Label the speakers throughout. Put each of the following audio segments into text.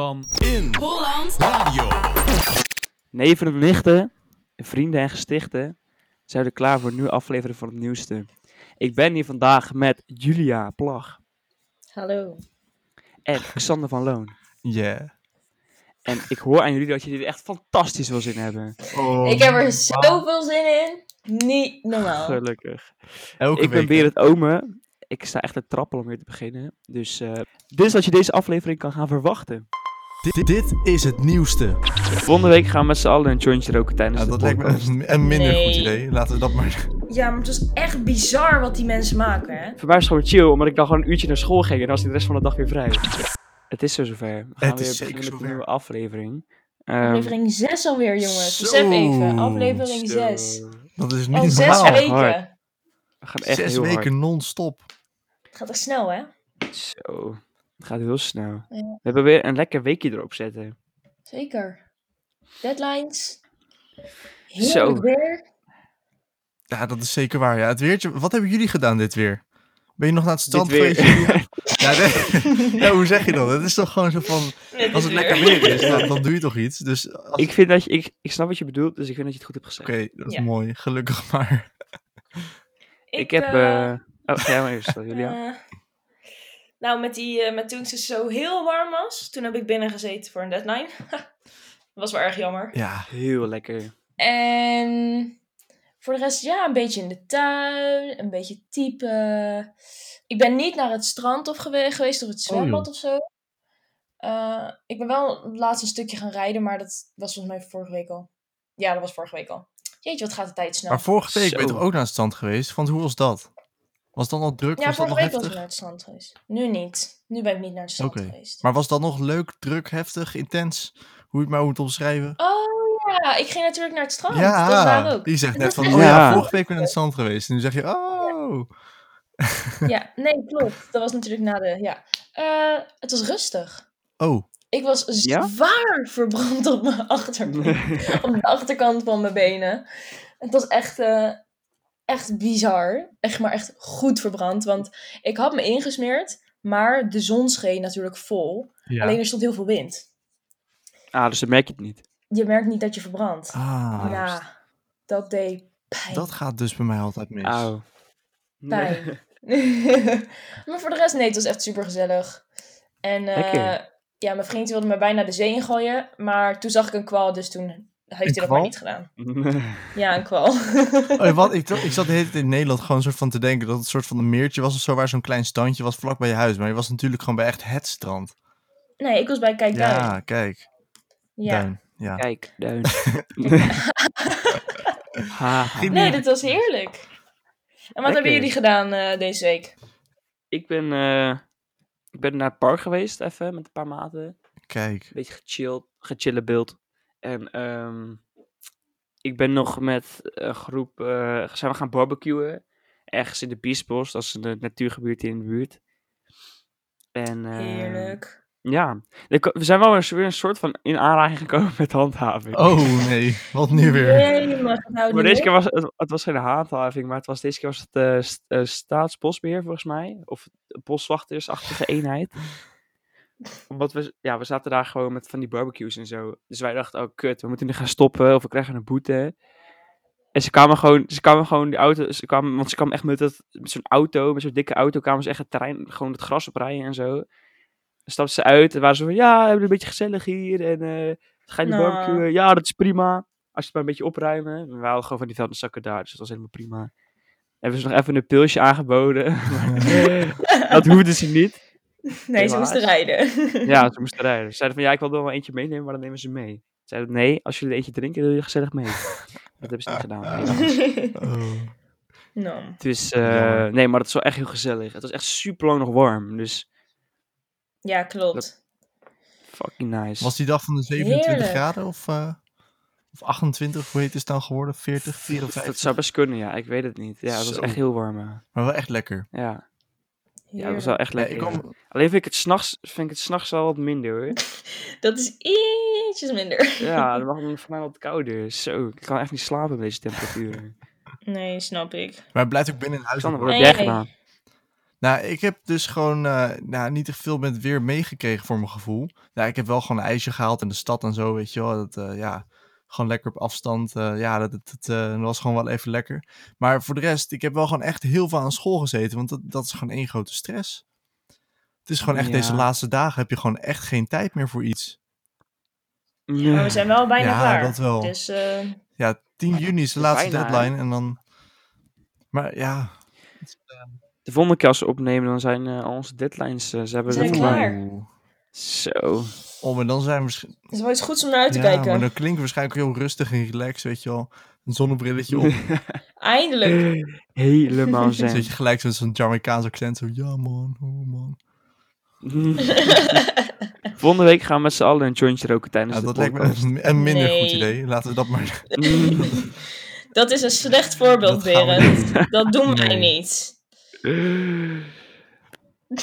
Speaker 1: van
Speaker 2: Neven en nichten, vrienden en gestichten, zijn we klaar voor een nieuwe aflevering van het nieuwste. Ik ben hier vandaag met Julia Plag
Speaker 3: Hallo.
Speaker 2: en Xander van Loon.
Speaker 1: Yeah.
Speaker 2: En ik hoor aan jullie dat jullie er echt fantastisch veel zin hebben.
Speaker 3: ik heb er zoveel zin in. Niet normaal.
Speaker 2: Gelukkig.
Speaker 1: Elke
Speaker 2: ik ben
Speaker 1: week, hè?
Speaker 2: Berend Ome. Ik sta echt te trappelen om weer te beginnen. Dus eh, dit is wat je deze aflevering kan gaan verwachten.
Speaker 1: Dit, dit is het nieuwste. Dus
Speaker 2: Volgende week gaan we met z'n allen een jointje roken tijdens
Speaker 1: Ja,
Speaker 2: de
Speaker 1: dat lijkt me
Speaker 2: podcast.
Speaker 1: een, een minder goed
Speaker 3: Nee.
Speaker 1: idee. Laten we dat maar...
Speaker 3: Ja, maar het is echt bizar wat die mensen maken, hè?
Speaker 2: Voor mij is het gewoon chill, omdat ik dan gewoon een uurtje naar school ging en dan was ik de rest van de dag weer vrij. Het is zo zover. We gaan
Speaker 1: is
Speaker 2: weer
Speaker 1: zeker
Speaker 2: beginnen met
Speaker 1: zover.
Speaker 2: een nieuwe aflevering. Ehm,
Speaker 3: Aflevering 6 alweer, jongens.
Speaker 1: Zo.
Speaker 3: Besef even. Aflevering
Speaker 2: zo.
Speaker 3: 6.
Speaker 1: Dat is niet
Speaker 3: Al 6
Speaker 1: normaal.
Speaker 2: echt
Speaker 3: weken.
Speaker 2: hard. We gaan echt
Speaker 1: Zes
Speaker 2: heel
Speaker 1: weken non-stop.
Speaker 3: Het gaat echt snel, hè?
Speaker 2: hard. Zo. Het gaat heel snel. We hebben weer een lekker weekje erop zetten.
Speaker 3: Zeker. Deadlines.
Speaker 2: Zo.
Speaker 3: Heerlijk weer.
Speaker 1: Ja, dat is zeker waar. Ja. Het weertje... Wat hebben jullie gedaan dit weer? Ben je nog naar het strand
Speaker 2: weer.
Speaker 1: geweest? Julia? ja, nee. ja, hoe zeg je dat? Het is toch gewoon zo van... Als het lekker weer is, dan, dan doe je toch iets. Dus... als-
Speaker 2: Ik, vind dat je, ik, ik snap wat je bedoelt, dus ik vind dat je het goed hebt gezegd.
Speaker 1: Oké, dat is
Speaker 3: Ja.
Speaker 1: mooi. Gelukkig maar.
Speaker 2: Ik, heb... eh, Oh, ga jij maar eerst, Julia.
Speaker 3: Eh, nou, met die, eh, met toen het zo heel warm was, toen heb ik binnen gezeten voor een deadline. was wel erg jammer.
Speaker 1: Ja.
Speaker 2: Heel lekker.
Speaker 3: En voor de rest, ja, een beetje in de tuin, een beetje typen. Ik ben niet naar het strand of gewe- geweest of het
Speaker 1: Oh, joh.
Speaker 3: zwembad of zo. Eh, ik ben wel laatst een stukje gaan rijden, maar dat was volgens mij vorige week al. Ja, dat was vorige week al. Jeetje, wat gaat de tijd snel.
Speaker 1: Maar vorige week
Speaker 2: Zo.
Speaker 1: ben je toch ook naar het strand geweest? Want hoe was dat? Was dat al druk?
Speaker 3: ja,
Speaker 1: was dat
Speaker 3: vorige
Speaker 1: nog heftig?
Speaker 3: week was ik naar het strand geweest. Nu niet. Nu ben ik niet naar het strand
Speaker 1: Oké.
Speaker 3: geweest.
Speaker 1: Maar was dat nog leuk, druk, heftig, intens? Hoe je het maar moet omschrijven?
Speaker 3: Oh ja, ik ging natuurlijk naar het strand.
Speaker 1: ja,
Speaker 3: Oh, dat is waar ook.
Speaker 1: die zegt net van,
Speaker 2: is
Speaker 1: oh
Speaker 2: echt
Speaker 1: ja,
Speaker 2: leuk.
Speaker 1: vorige week ben ik naar het strand geweest. En nu zeg je, oh.
Speaker 3: Ja, nee, klopt. Dat was natuurlijk na de, ja. Eh, het was rustig.
Speaker 1: Oh,
Speaker 3: Ik was
Speaker 2: Ja?
Speaker 3: zwaar verbrand op mijn achterbeen. op de achterkant van mijn benen. Het was echt, eh, echt bizar. Echt, maar echt goed verbrand. Want ik had me ingesmeerd. Maar de zon scheen natuurlijk vol.
Speaker 1: ja.
Speaker 3: Alleen er stond heel veel wind.
Speaker 2: ah, dus dan merk je het niet.
Speaker 3: Je merkt niet dat je verbrandt.
Speaker 1: Ah,
Speaker 3: ja, dat deed pijn.
Speaker 1: dat gaat dus bij mij altijd mis.
Speaker 2: Auw. Nee.
Speaker 3: Pijn. maar voor de rest, nee, het was echt super gezellig. En eh,
Speaker 2: Lekker.
Speaker 3: ja, mijn vriend wilde me bijna de zee in gooien. Maar toen zag ik een kwal, dus toen heeft hij dat
Speaker 1: kwal?
Speaker 3: maar niet gedaan. Ja, een kwal.
Speaker 1: Oh, wat, ik, dacht- ik zat de hele tijd in Nederland gewoon soort van te denken dat het een soort van een meertje was of zo, waar zo'n klein standje was vlak bij je huis. Maar je was natuurlijk gewoon bij echt het strand.
Speaker 3: nee, ik was bij Kijk
Speaker 1: Ja,
Speaker 3: Duin.
Speaker 1: kijk.
Speaker 3: Ja.
Speaker 1: Duin. Ja.
Speaker 2: Kijk, duin. Ha, ha.
Speaker 3: Nee, dit was heerlijk. En wat
Speaker 2: Lekker.
Speaker 3: hebben jullie gedaan eh, deze week?
Speaker 2: Ik ben, eh, ik ben naar het park geweest, even, met een paar maten. Een
Speaker 1: Kijk.
Speaker 2: beetje gechilled, gechillen beeld. En ehm, ik ben nog met een groep, eh, zijn we gaan barbecuen. Ergens in de Biesbos, dat is een eh, natuurgebied hier in de buurt. En, eh,
Speaker 3: Heerlijk.
Speaker 2: Ja, Ik- we zijn wel eens weer een soort van in aanraking gekomen met handhaving.
Speaker 1: Oh nee, wat nu weer?
Speaker 3: Nee, maar het houdt niet
Speaker 2: Maar deze keer
Speaker 3: op.
Speaker 2: was het, het was geen haathaving, maar het was, deze keer was het eh, st- eh, staatsbosbeheer volgens mij. Of boswachtersachtige eenheid. Omdat we, ja, we zaten daar gewoon met van die barbecues en zo. Dus wij dachten, oh kut, we moeten nu gaan stoppen of we krijgen een boete. En ze kwamen gewoon, ze kwamen gewoon die auto, ze kwamen, want ze kwamen echt met, dat, met zo'n auto, met zo'n dikke auto, kwamen ze echt het terrein, gewoon het gras oprijden en zo. Dan stapten ze uit en waren ze van, ja, we hebben een beetje gezellig hier en eh ga je niet
Speaker 3: Nou.
Speaker 2: barbecuen? Ja, dat is prima. Als je het maar een beetje opruimen. We waren gewoon van die vuilniszakken daar, dus dat was helemaal prima. Hebben ze nog even een pilsje aangeboden. maar dat hoefden ze niet.
Speaker 3: Nee, ze moesten rijden.
Speaker 2: Ja, ze moesten rijden. Ze zeiden van ja, ik wil er wel eentje meenemen, maar dan nemen ze mee. Ze zeiden nee, als jullie er eentje drinken, wil je gezellig mee. Dat hebben ze niet gedaan. helaas.
Speaker 1: Oh.
Speaker 3: nou,
Speaker 2: Dus eh,
Speaker 1: Jammer.
Speaker 2: nee, maar het is wel echt heel gezellig. Het was echt super lang nog warm, dus
Speaker 3: ja, klopt.
Speaker 2: fucking nice.
Speaker 1: Was die dag van de 27
Speaker 3: Heerlijk.
Speaker 1: graden of, eh, of 28, hoe heet het dan geworden? 40,
Speaker 2: dat
Speaker 1: 54.
Speaker 2: zou best kunnen, ja. Ik weet het niet. Ja, het was
Speaker 1: Zo.
Speaker 2: echt heel warm. ja.
Speaker 1: Maar wel echt lekker.
Speaker 2: Ja, ja het was wel echt
Speaker 1: Nee,
Speaker 2: lekker.
Speaker 1: ik
Speaker 2: ja.
Speaker 1: kwam,
Speaker 2: Alleen vind ik het s'nachts, vind ik het 's nachts wel wat minder hoor.
Speaker 3: Dat is ietsjes minder.
Speaker 2: Ja, dan mag het voor mij wat kouder. Zo, ik kan echt niet slapen met deze temperaturen.
Speaker 3: Nee, snap ik.
Speaker 1: maar blijf ook binnen in huis.
Speaker 2: Sander,
Speaker 1: hoor.
Speaker 2: wat heb jij
Speaker 3: Nee.
Speaker 2: gedaan?
Speaker 1: Nou, ik heb dus gewoon eh, nou, niet echt veel met weer meegekregen voor mijn gevoel. Ja, ik heb wel gewoon een ijsje gehaald in de stad en zo, weet je wel. Dat, eh, ja, gewoon lekker op afstand. eh, ja, dat, dat, dat, eh, dat was gewoon wel even lekker. Maar voor de rest, ik heb wel gewoon echt heel veel aan school gezeten. Want dat, dat is gewoon één grote stress. Het is gewoon echt
Speaker 2: Ja.
Speaker 1: deze laatste dagen heb je gewoon echt geen tijd meer voor iets.
Speaker 3: Maar we zijn wel bijna
Speaker 1: Ja,
Speaker 3: klaar.
Speaker 1: dat wel.
Speaker 3: Dus eh,
Speaker 1: Ja, 10 juni is de laatste
Speaker 2: Bijna, hè?
Speaker 1: deadline en dan... Maar ja,
Speaker 2: De volgende keer als we opnemen, dan zijn eh, al onze deadlines. eh, ze hebben
Speaker 3: Zijn
Speaker 2: we
Speaker 3: klaar.
Speaker 2: Zo.
Speaker 1: Om en Oh, dan zijn we misschien...
Speaker 3: het is wel iets goeds om naar uit te
Speaker 1: ja,
Speaker 3: kijken.
Speaker 1: maar dan klinken we waarschijnlijk heel rustig en relaxed, weet je wel. Een zonnebrilletje op.
Speaker 3: Eindelijk.
Speaker 2: Helemaal zen.
Speaker 1: Zit je gelijk met zo'n Jamaicaans accent. Zo, ja man, oh man.
Speaker 2: Volgende week gaan we met z'n allen een jointje roken tijdens
Speaker 1: Ja,
Speaker 2: de
Speaker 1: dat lijkt me
Speaker 2: podcast.
Speaker 1: een, een minder
Speaker 3: Nee.
Speaker 1: goed idee. Laten we dat maar...
Speaker 3: Dat is een slecht voorbeeld,
Speaker 1: Dat gaan we
Speaker 3: Berend. Dat doen wij
Speaker 1: Nee.
Speaker 3: niet.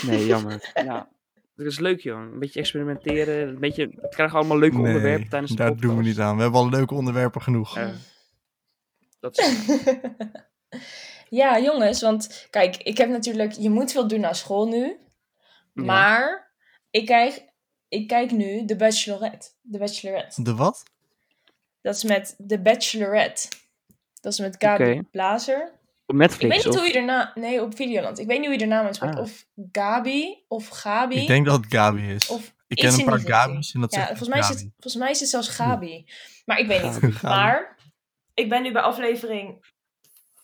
Speaker 2: nee, jammer. Ja. Dat is leuk, joh. Een beetje experimenteren. Een beetje, we krijgen allemaal leuke onderwerpen tijdens de
Speaker 1: daar
Speaker 2: podcast.
Speaker 1: doen we niet aan. We hebben al leuke onderwerpen genoeg.
Speaker 2: Eh, dat is...
Speaker 3: ja, jongens, want kijk, ik heb natuurlijk... Je moet veel doen na school nu.
Speaker 2: Ja.
Speaker 3: Maar ik kijk, ik kijk nu The Bachelorette. The Bachelorette.
Speaker 1: De wat?
Speaker 3: Dat is met The Bachelorette. Dat is met Gabi
Speaker 2: Oké.
Speaker 3: Blazer.
Speaker 2: Op
Speaker 3: Ik
Speaker 2: Netflix,
Speaker 3: weet niet
Speaker 2: of?
Speaker 3: hoe je erna... Nee, op Videoland. Ik weet niet hoe je ernaam uitspreekt.
Speaker 2: Ah.
Speaker 3: Of Gabi, of Gabi.
Speaker 1: Ik denk dat het Gabi is.
Speaker 3: Of
Speaker 1: ik
Speaker 3: iets
Speaker 1: ken een
Speaker 3: in
Speaker 1: paar
Speaker 3: die richting.
Speaker 1: Gabi's en dat
Speaker 3: Ja,
Speaker 1: zegt
Speaker 3: volgens mij, is het,
Speaker 1: Gabi.
Speaker 3: volgens mij is het zelfs Gabi. Maar ik weet niet.
Speaker 2: Gabi.
Speaker 1: Gabi.
Speaker 3: Maar ik ben nu bij aflevering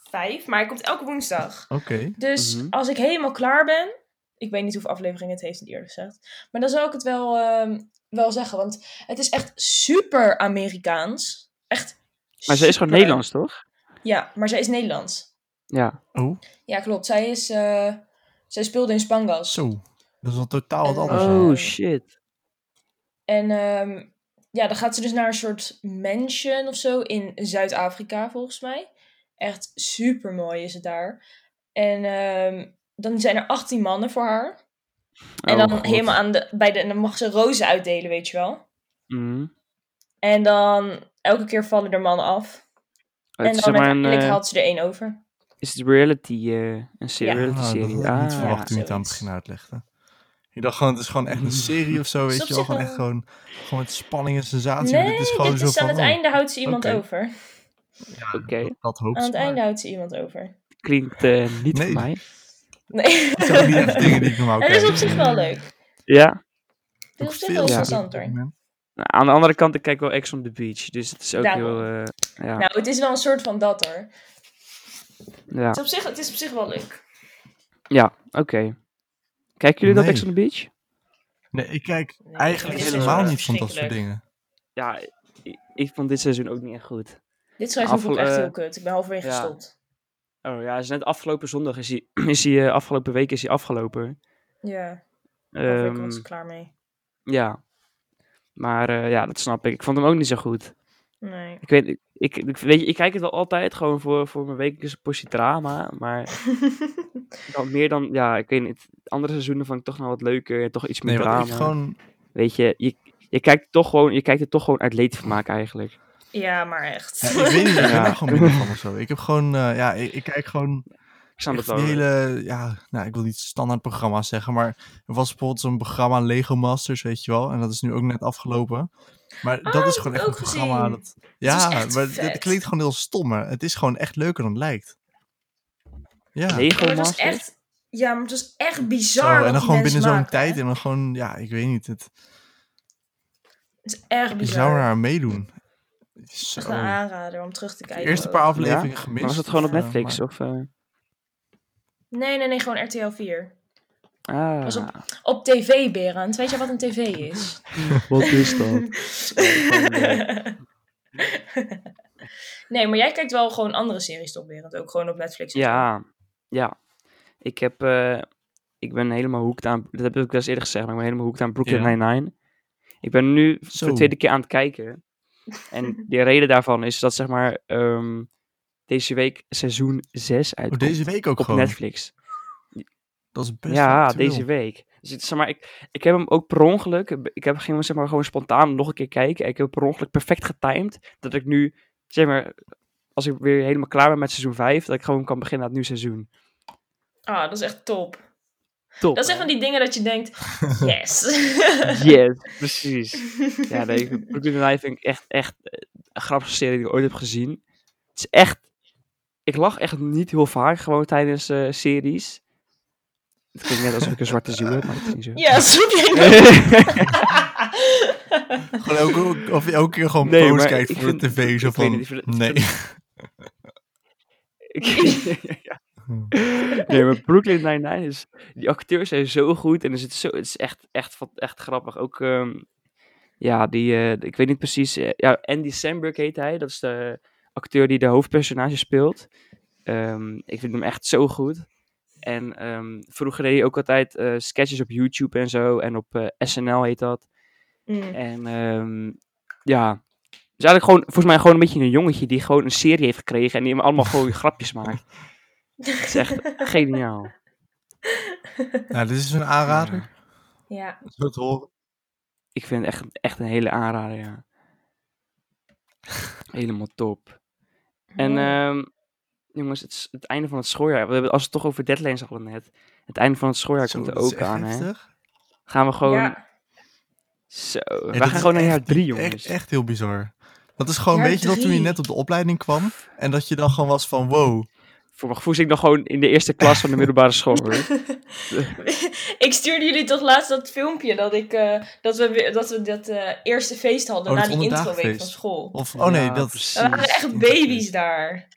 Speaker 3: 5, maar hij komt elke woensdag.
Speaker 1: Oké.
Speaker 3: Dus
Speaker 2: Mhm.
Speaker 3: als ik helemaal klaar ben, ik weet niet hoeveel afleveringen het heeft eerlijk gezegd, maar dan zou ik het wel, ehm, wel zeggen, want het is echt super Amerikaans. Echt.
Speaker 2: Maar ze is gewoon
Speaker 3: super-
Speaker 2: Nederlands, toch?
Speaker 3: Ja, maar zij is Nederlands.
Speaker 2: Ja.
Speaker 1: Oh,
Speaker 3: Ja, klopt. Zij is. eh, zij speelde in Spangas.
Speaker 1: zo. Dat is al totaal wat
Speaker 3: Eh,
Speaker 1: anders.
Speaker 3: Oh,
Speaker 1: dan.
Speaker 2: Oh,
Speaker 3: eh,
Speaker 2: shit.
Speaker 3: En ehm, ja, dan gaat ze dus naar een soort mansion of zo in Zuid-Afrika, volgens mij. Echt super mooi is het daar. En ehm, dan zijn er 18 mannen voor haar. En
Speaker 2: Oh,
Speaker 3: dan
Speaker 2: God.
Speaker 3: helemaal aan de, bij de. En dan mag ze rozen uitdelen, weet je wel.
Speaker 2: Mhm.
Speaker 3: En dan elke keer vallen er mannen af.
Speaker 2: Oh,
Speaker 3: en
Speaker 2: het
Speaker 3: dan
Speaker 2: is zeg maar een,
Speaker 3: uiteindelijk
Speaker 2: eh,
Speaker 3: haalt ze er één over.
Speaker 2: is het reality, eh, een serie,
Speaker 3: Ja.
Speaker 2: reality
Speaker 1: Ah, dat
Speaker 2: serie.
Speaker 1: had ik niet
Speaker 2: Ah,
Speaker 1: verwacht toen je het aan het
Speaker 3: zoiets.
Speaker 1: begin uitlegde. Ik dacht gewoon, het is gewoon echt een serie of zo, weet
Speaker 3: op
Speaker 1: je wel.
Speaker 3: zich
Speaker 1: Gewoon
Speaker 3: wel-
Speaker 1: echt gewoon, gewoon met spanning en sensatie.
Speaker 3: Nee,
Speaker 1: maar dit Ah, is gewoon zo
Speaker 3: aan
Speaker 1: van,
Speaker 3: het
Speaker 1: oh,
Speaker 3: einde houdt ze iemand
Speaker 1: oké.
Speaker 3: over.
Speaker 1: ja,
Speaker 2: Oké.
Speaker 1: dat, dat hoop
Speaker 3: Aan het
Speaker 1: ze maar.
Speaker 3: einde houdt ze iemand over.
Speaker 2: klinkt eh, niet
Speaker 1: Nee.
Speaker 2: voor mij.
Speaker 3: Nee.
Speaker 1: Dat zijn ook niet echt dingen die ik normaal
Speaker 3: Het
Speaker 1: kijk.
Speaker 3: is op zich wel leuk.
Speaker 2: Ja.
Speaker 3: Het is op
Speaker 1: Ook
Speaker 3: zich wel
Speaker 1: veel
Speaker 3: interessant
Speaker 1: op dit
Speaker 3: hoor.
Speaker 1: moment.
Speaker 2: Nou, aan de andere kant, ik kijk wel Ex on the Beach. Dus het is ook
Speaker 3: Daarom.
Speaker 2: heel... eh, ja.
Speaker 3: Nou, het is wel een soort van dat hoor.
Speaker 2: ja.
Speaker 3: Het is op zich, het is op zich wel leuk.
Speaker 2: Ja, oké. Kijken jullie
Speaker 1: Nee.
Speaker 2: dat Ex on the Beach?
Speaker 1: Nee, ik kijk
Speaker 3: Nee,
Speaker 1: eigenlijk
Speaker 2: dit is
Speaker 1: helemaal
Speaker 3: wel
Speaker 1: niet van dat soort
Speaker 3: verschrikkelijk.
Speaker 1: dingen.
Speaker 2: Ja, ik, ik vond dit seizoen ook niet echt goed.
Speaker 3: Dit seizoen vond ik echt
Speaker 2: Afge-
Speaker 3: heel kut. Ik ben halverwege
Speaker 2: eh, ja.
Speaker 3: gestopt.
Speaker 2: Oh ja, is net afgelopen zondag is hij... Is hij eh, afgelopen week is hij afgelopen.
Speaker 3: Ja, halverwege
Speaker 2: Ehm
Speaker 3: was ik klaar mee.
Speaker 2: ja. Maar eh, ja, dat snap ik. Ik vond hem ook niet zo goed.
Speaker 3: Nee.
Speaker 2: Ik weet, ik, ik, ik- weet je, ik kijk het wel altijd gewoon voor, voor mijn wekelijkse portie drama. Maar dan meer dan, ja, ik weet niet. Andere seizoenen vond ik toch nog wat leuker. en Toch iets meer
Speaker 1: Nee, wat
Speaker 2: drama.
Speaker 1: ik gewoon...
Speaker 2: Weet je, je, je, kijkt toch gewoon, je kijkt het toch gewoon uit leedvermaak eigenlijk.
Speaker 3: ja, maar echt.
Speaker 1: Ja, ik weet niet, ik ben
Speaker 2: Ja.
Speaker 1: daar gewoon minder van of zo. Ik heb gewoon... eh, ja, ik, ik kijk gewoon
Speaker 2: Ik snap
Speaker 1: echt
Speaker 2: het
Speaker 1: die
Speaker 2: wel.
Speaker 1: hele... Ja, nou, ik wil niet standaard programma's zeggen, maar... Er was bijvoorbeeld zo'n programma Lego Masters, weet je wel. En dat is nu ook net afgelopen. Maar
Speaker 3: Ah,
Speaker 1: dat is
Speaker 3: dat
Speaker 1: gewoon
Speaker 3: heb
Speaker 1: echt
Speaker 3: ik
Speaker 1: een
Speaker 3: ook
Speaker 1: programma
Speaker 3: gezien.
Speaker 1: dat... Ja,
Speaker 3: was echt
Speaker 1: maar
Speaker 3: vet.
Speaker 1: dat klinkt gewoon heel stom, maar het is gewoon echt leuker dan het lijkt. Ja.
Speaker 2: Lego
Speaker 3: Ja, maar het was
Speaker 2: Masters.
Speaker 3: echt... Ja, maar het was echt bizar
Speaker 1: Zo,
Speaker 3: wat
Speaker 1: en dan
Speaker 3: die
Speaker 1: gewoon
Speaker 3: mensen
Speaker 1: binnen zo'n
Speaker 3: maken,
Speaker 1: tijd
Speaker 3: hè.
Speaker 1: en dan gewoon... Ja, ik weet niet, het...
Speaker 3: Het is
Speaker 1: Je
Speaker 3: echt
Speaker 1: zou
Speaker 3: bizar.
Speaker 1: er aan meedoen. Zo.
Speaker 3: Echt een aanrader om terug te
Speaker 1: De
Speaker 3: kijken.
Speaker 1: eerste
Speaker 3: ook.
Speaker 1: paar afleveringen gemist.
Speaker 2: Maar was het gewoon op
Speaker 1: of, eh,
Speaker 2: Netflix?
Speaker 1: maar-
Speaker 2: Of, eh,
Speaker 3: Nee, nee, nee, gewoon RTL 4.
Speaker 2: ah,
Speaker 3: Was Op tv, Berend. Weet je wat een tv is?
Speaker 2: wat is dat?
Speaker 3: nee, maar jij kijkt wel gewoon andere series toch, Berend? Ook gewoon op Netflix? of zo.
Speaker 2: Ja, ja. Ik heb, eh, ik ben helemaal hoekt aan, dat heb ik wel eens eerder gezegd, maar ik ben helemaal hoekt aan Brooklyn
Speaker 1: Ja.
Speaker 2: Nine-Nine. Ik ben nu
Speaker 1: Zo.
Speaker 2: voor de tweede keer aan het kijken. En de reden daarvan is dat, zeg maar, ehm, deze week seizoen 6
Speaker 1: Oh,
Speaker 2: uitkomt
Speaker 1: deze week ook
Speaker 2: op
Speaker 1: gewoon.
Speaker 2: Netflix.
Speaker 1: Dat is best
Speaker 2: ja,
Speaker 1: actueel.
Speaker 2: deze week. Dus het, zeg maar, ik, ik heb hem ook per ongeluk. eh, Ik heb ging hem, zeg maar, gewoon spontaan nog een keer kijken. En ik heb hem per ongeluk perfect getimed. Dat ik nu, zeg maar, als ik weer helemaal klaar ben met seizoen 5, dat ik gewoon kan beginnen aan het nieuwe seizoen.
Speaker 3: Ah, dat is echt top.
Speaker 2: Top.
Speaker 3: Dat zijn van die dingen dat je denkt, yes.
Speaker 2: Yes, precies. Ja, nee, ik- Brooklyn Nine-Nine vind ik echt, echt eh, een grappige serie die ik ooit heb gezien. Het is echt... Ik lach echt niet heel vaak gewoon tijdens eh, series. Het klinkt net alsof ik een zwarte ziel heb, maar dat is niet zo.
Speaker 3: Ja, zoek je
Speaker 1: Gewoon elke, of je elke keer gewoon
Speaker 2: Nee,
Speaker 1: nee,
Speaker 2: maar
Speaker 1: kijkt
Speaker 2: ik
Speaker 1: voor
Speaker 2: vind-
Speaker 1: de tv. Zo
Speaker 2: ik weet
Speaker 1: van,
Speaker 2: niet, ik vind het-
Speaker 1: nee.
Speaker 2: Ja. Nee, maar Brooklyn Nine-Nine is... Die acteurs zijn zo goed en er zit zo, het is echt, echt, wat- echt grappig. Ook, ehm, ja, die... eh, ik weet niet precies... eh, ja, Andy Samberg heet hij. Dat is de acteur die de hoofdpersonage speelt. Ehm, ik vind hem echt zo goed. En ehm, vroeger deed hij ook altijd eh, sketches op YouTube en zo. En op eh, SNL heet dat.
Speaker 3: Mm,
Speaker 2: En ehm, ja, is eigenlijk gewoon, volgens mij gewoon een beetje een jongetje die gewoon een serie heeft gekregen en die hem allemaal gewoon grapjes maakt. Het is echt geniaal.
Speaker 1: Nou, dit is een aanrader.
Speaker 2: Ja.
Speaker 3: ja.
Speaker 1: Zo te horen.
Speaker 2: Ik vind het echt, echt een hele aanrader, ja. Helemaal top. En ehm, jongens, het is het einde van het schooljaar. We hebben als we het toch over deadlines hadden net. Het einde van het schooljaar
Speaker 1: Zo,
Speaker 2: komt er
Speaker 1: dat is
Speaker 2: ook
Speaker 1: echt
Speaker 2: aan, hè.
Speaker 1: heftig.
Speaker 2: Gaan we gewoon...
Speaker 3: Ja.
Speaker 2: Zo,
Speaker 1: Ja,
Speaker 2: we
Speaker 1: dat
Speaker 2: gaan
Speaker 1: is
Speaker 2: gewoon naar
Speaker 1: echt-
Speaker 2: jaar drie, jongens.
Speaker 1: Echt, echt heel bizar. Dat is gewoon,
Speaker 3: Jaar
Speaker 1: weet je dat toen je
Speaker 3: drie.
Speaker 1: net op de opleiding kwam en dat je dan gewoon was van wow.
Speaker 2: Voor mijn gevoel zit ik nog gewoon in de eerste klas van de middelbare school, hoor.
Speaker 3: ik stuurde jullie toch laatst dat filmpje dat, ik, eh, dat we weer- dat, we dat eh, eerste feest hadden
Speaker 1: Oh,
Speaker 3: na
Speaker 1: dat
Speaker 3: die introweek van
Speaker 1: honderddagenfeest.
Speaker 3: school.
Speaker 1: Of, oh nee,
Speaker 2: Ja,
Speaker 1: dat
Speaker 2: precies.
Speaker 3: We waren echt baby's daar.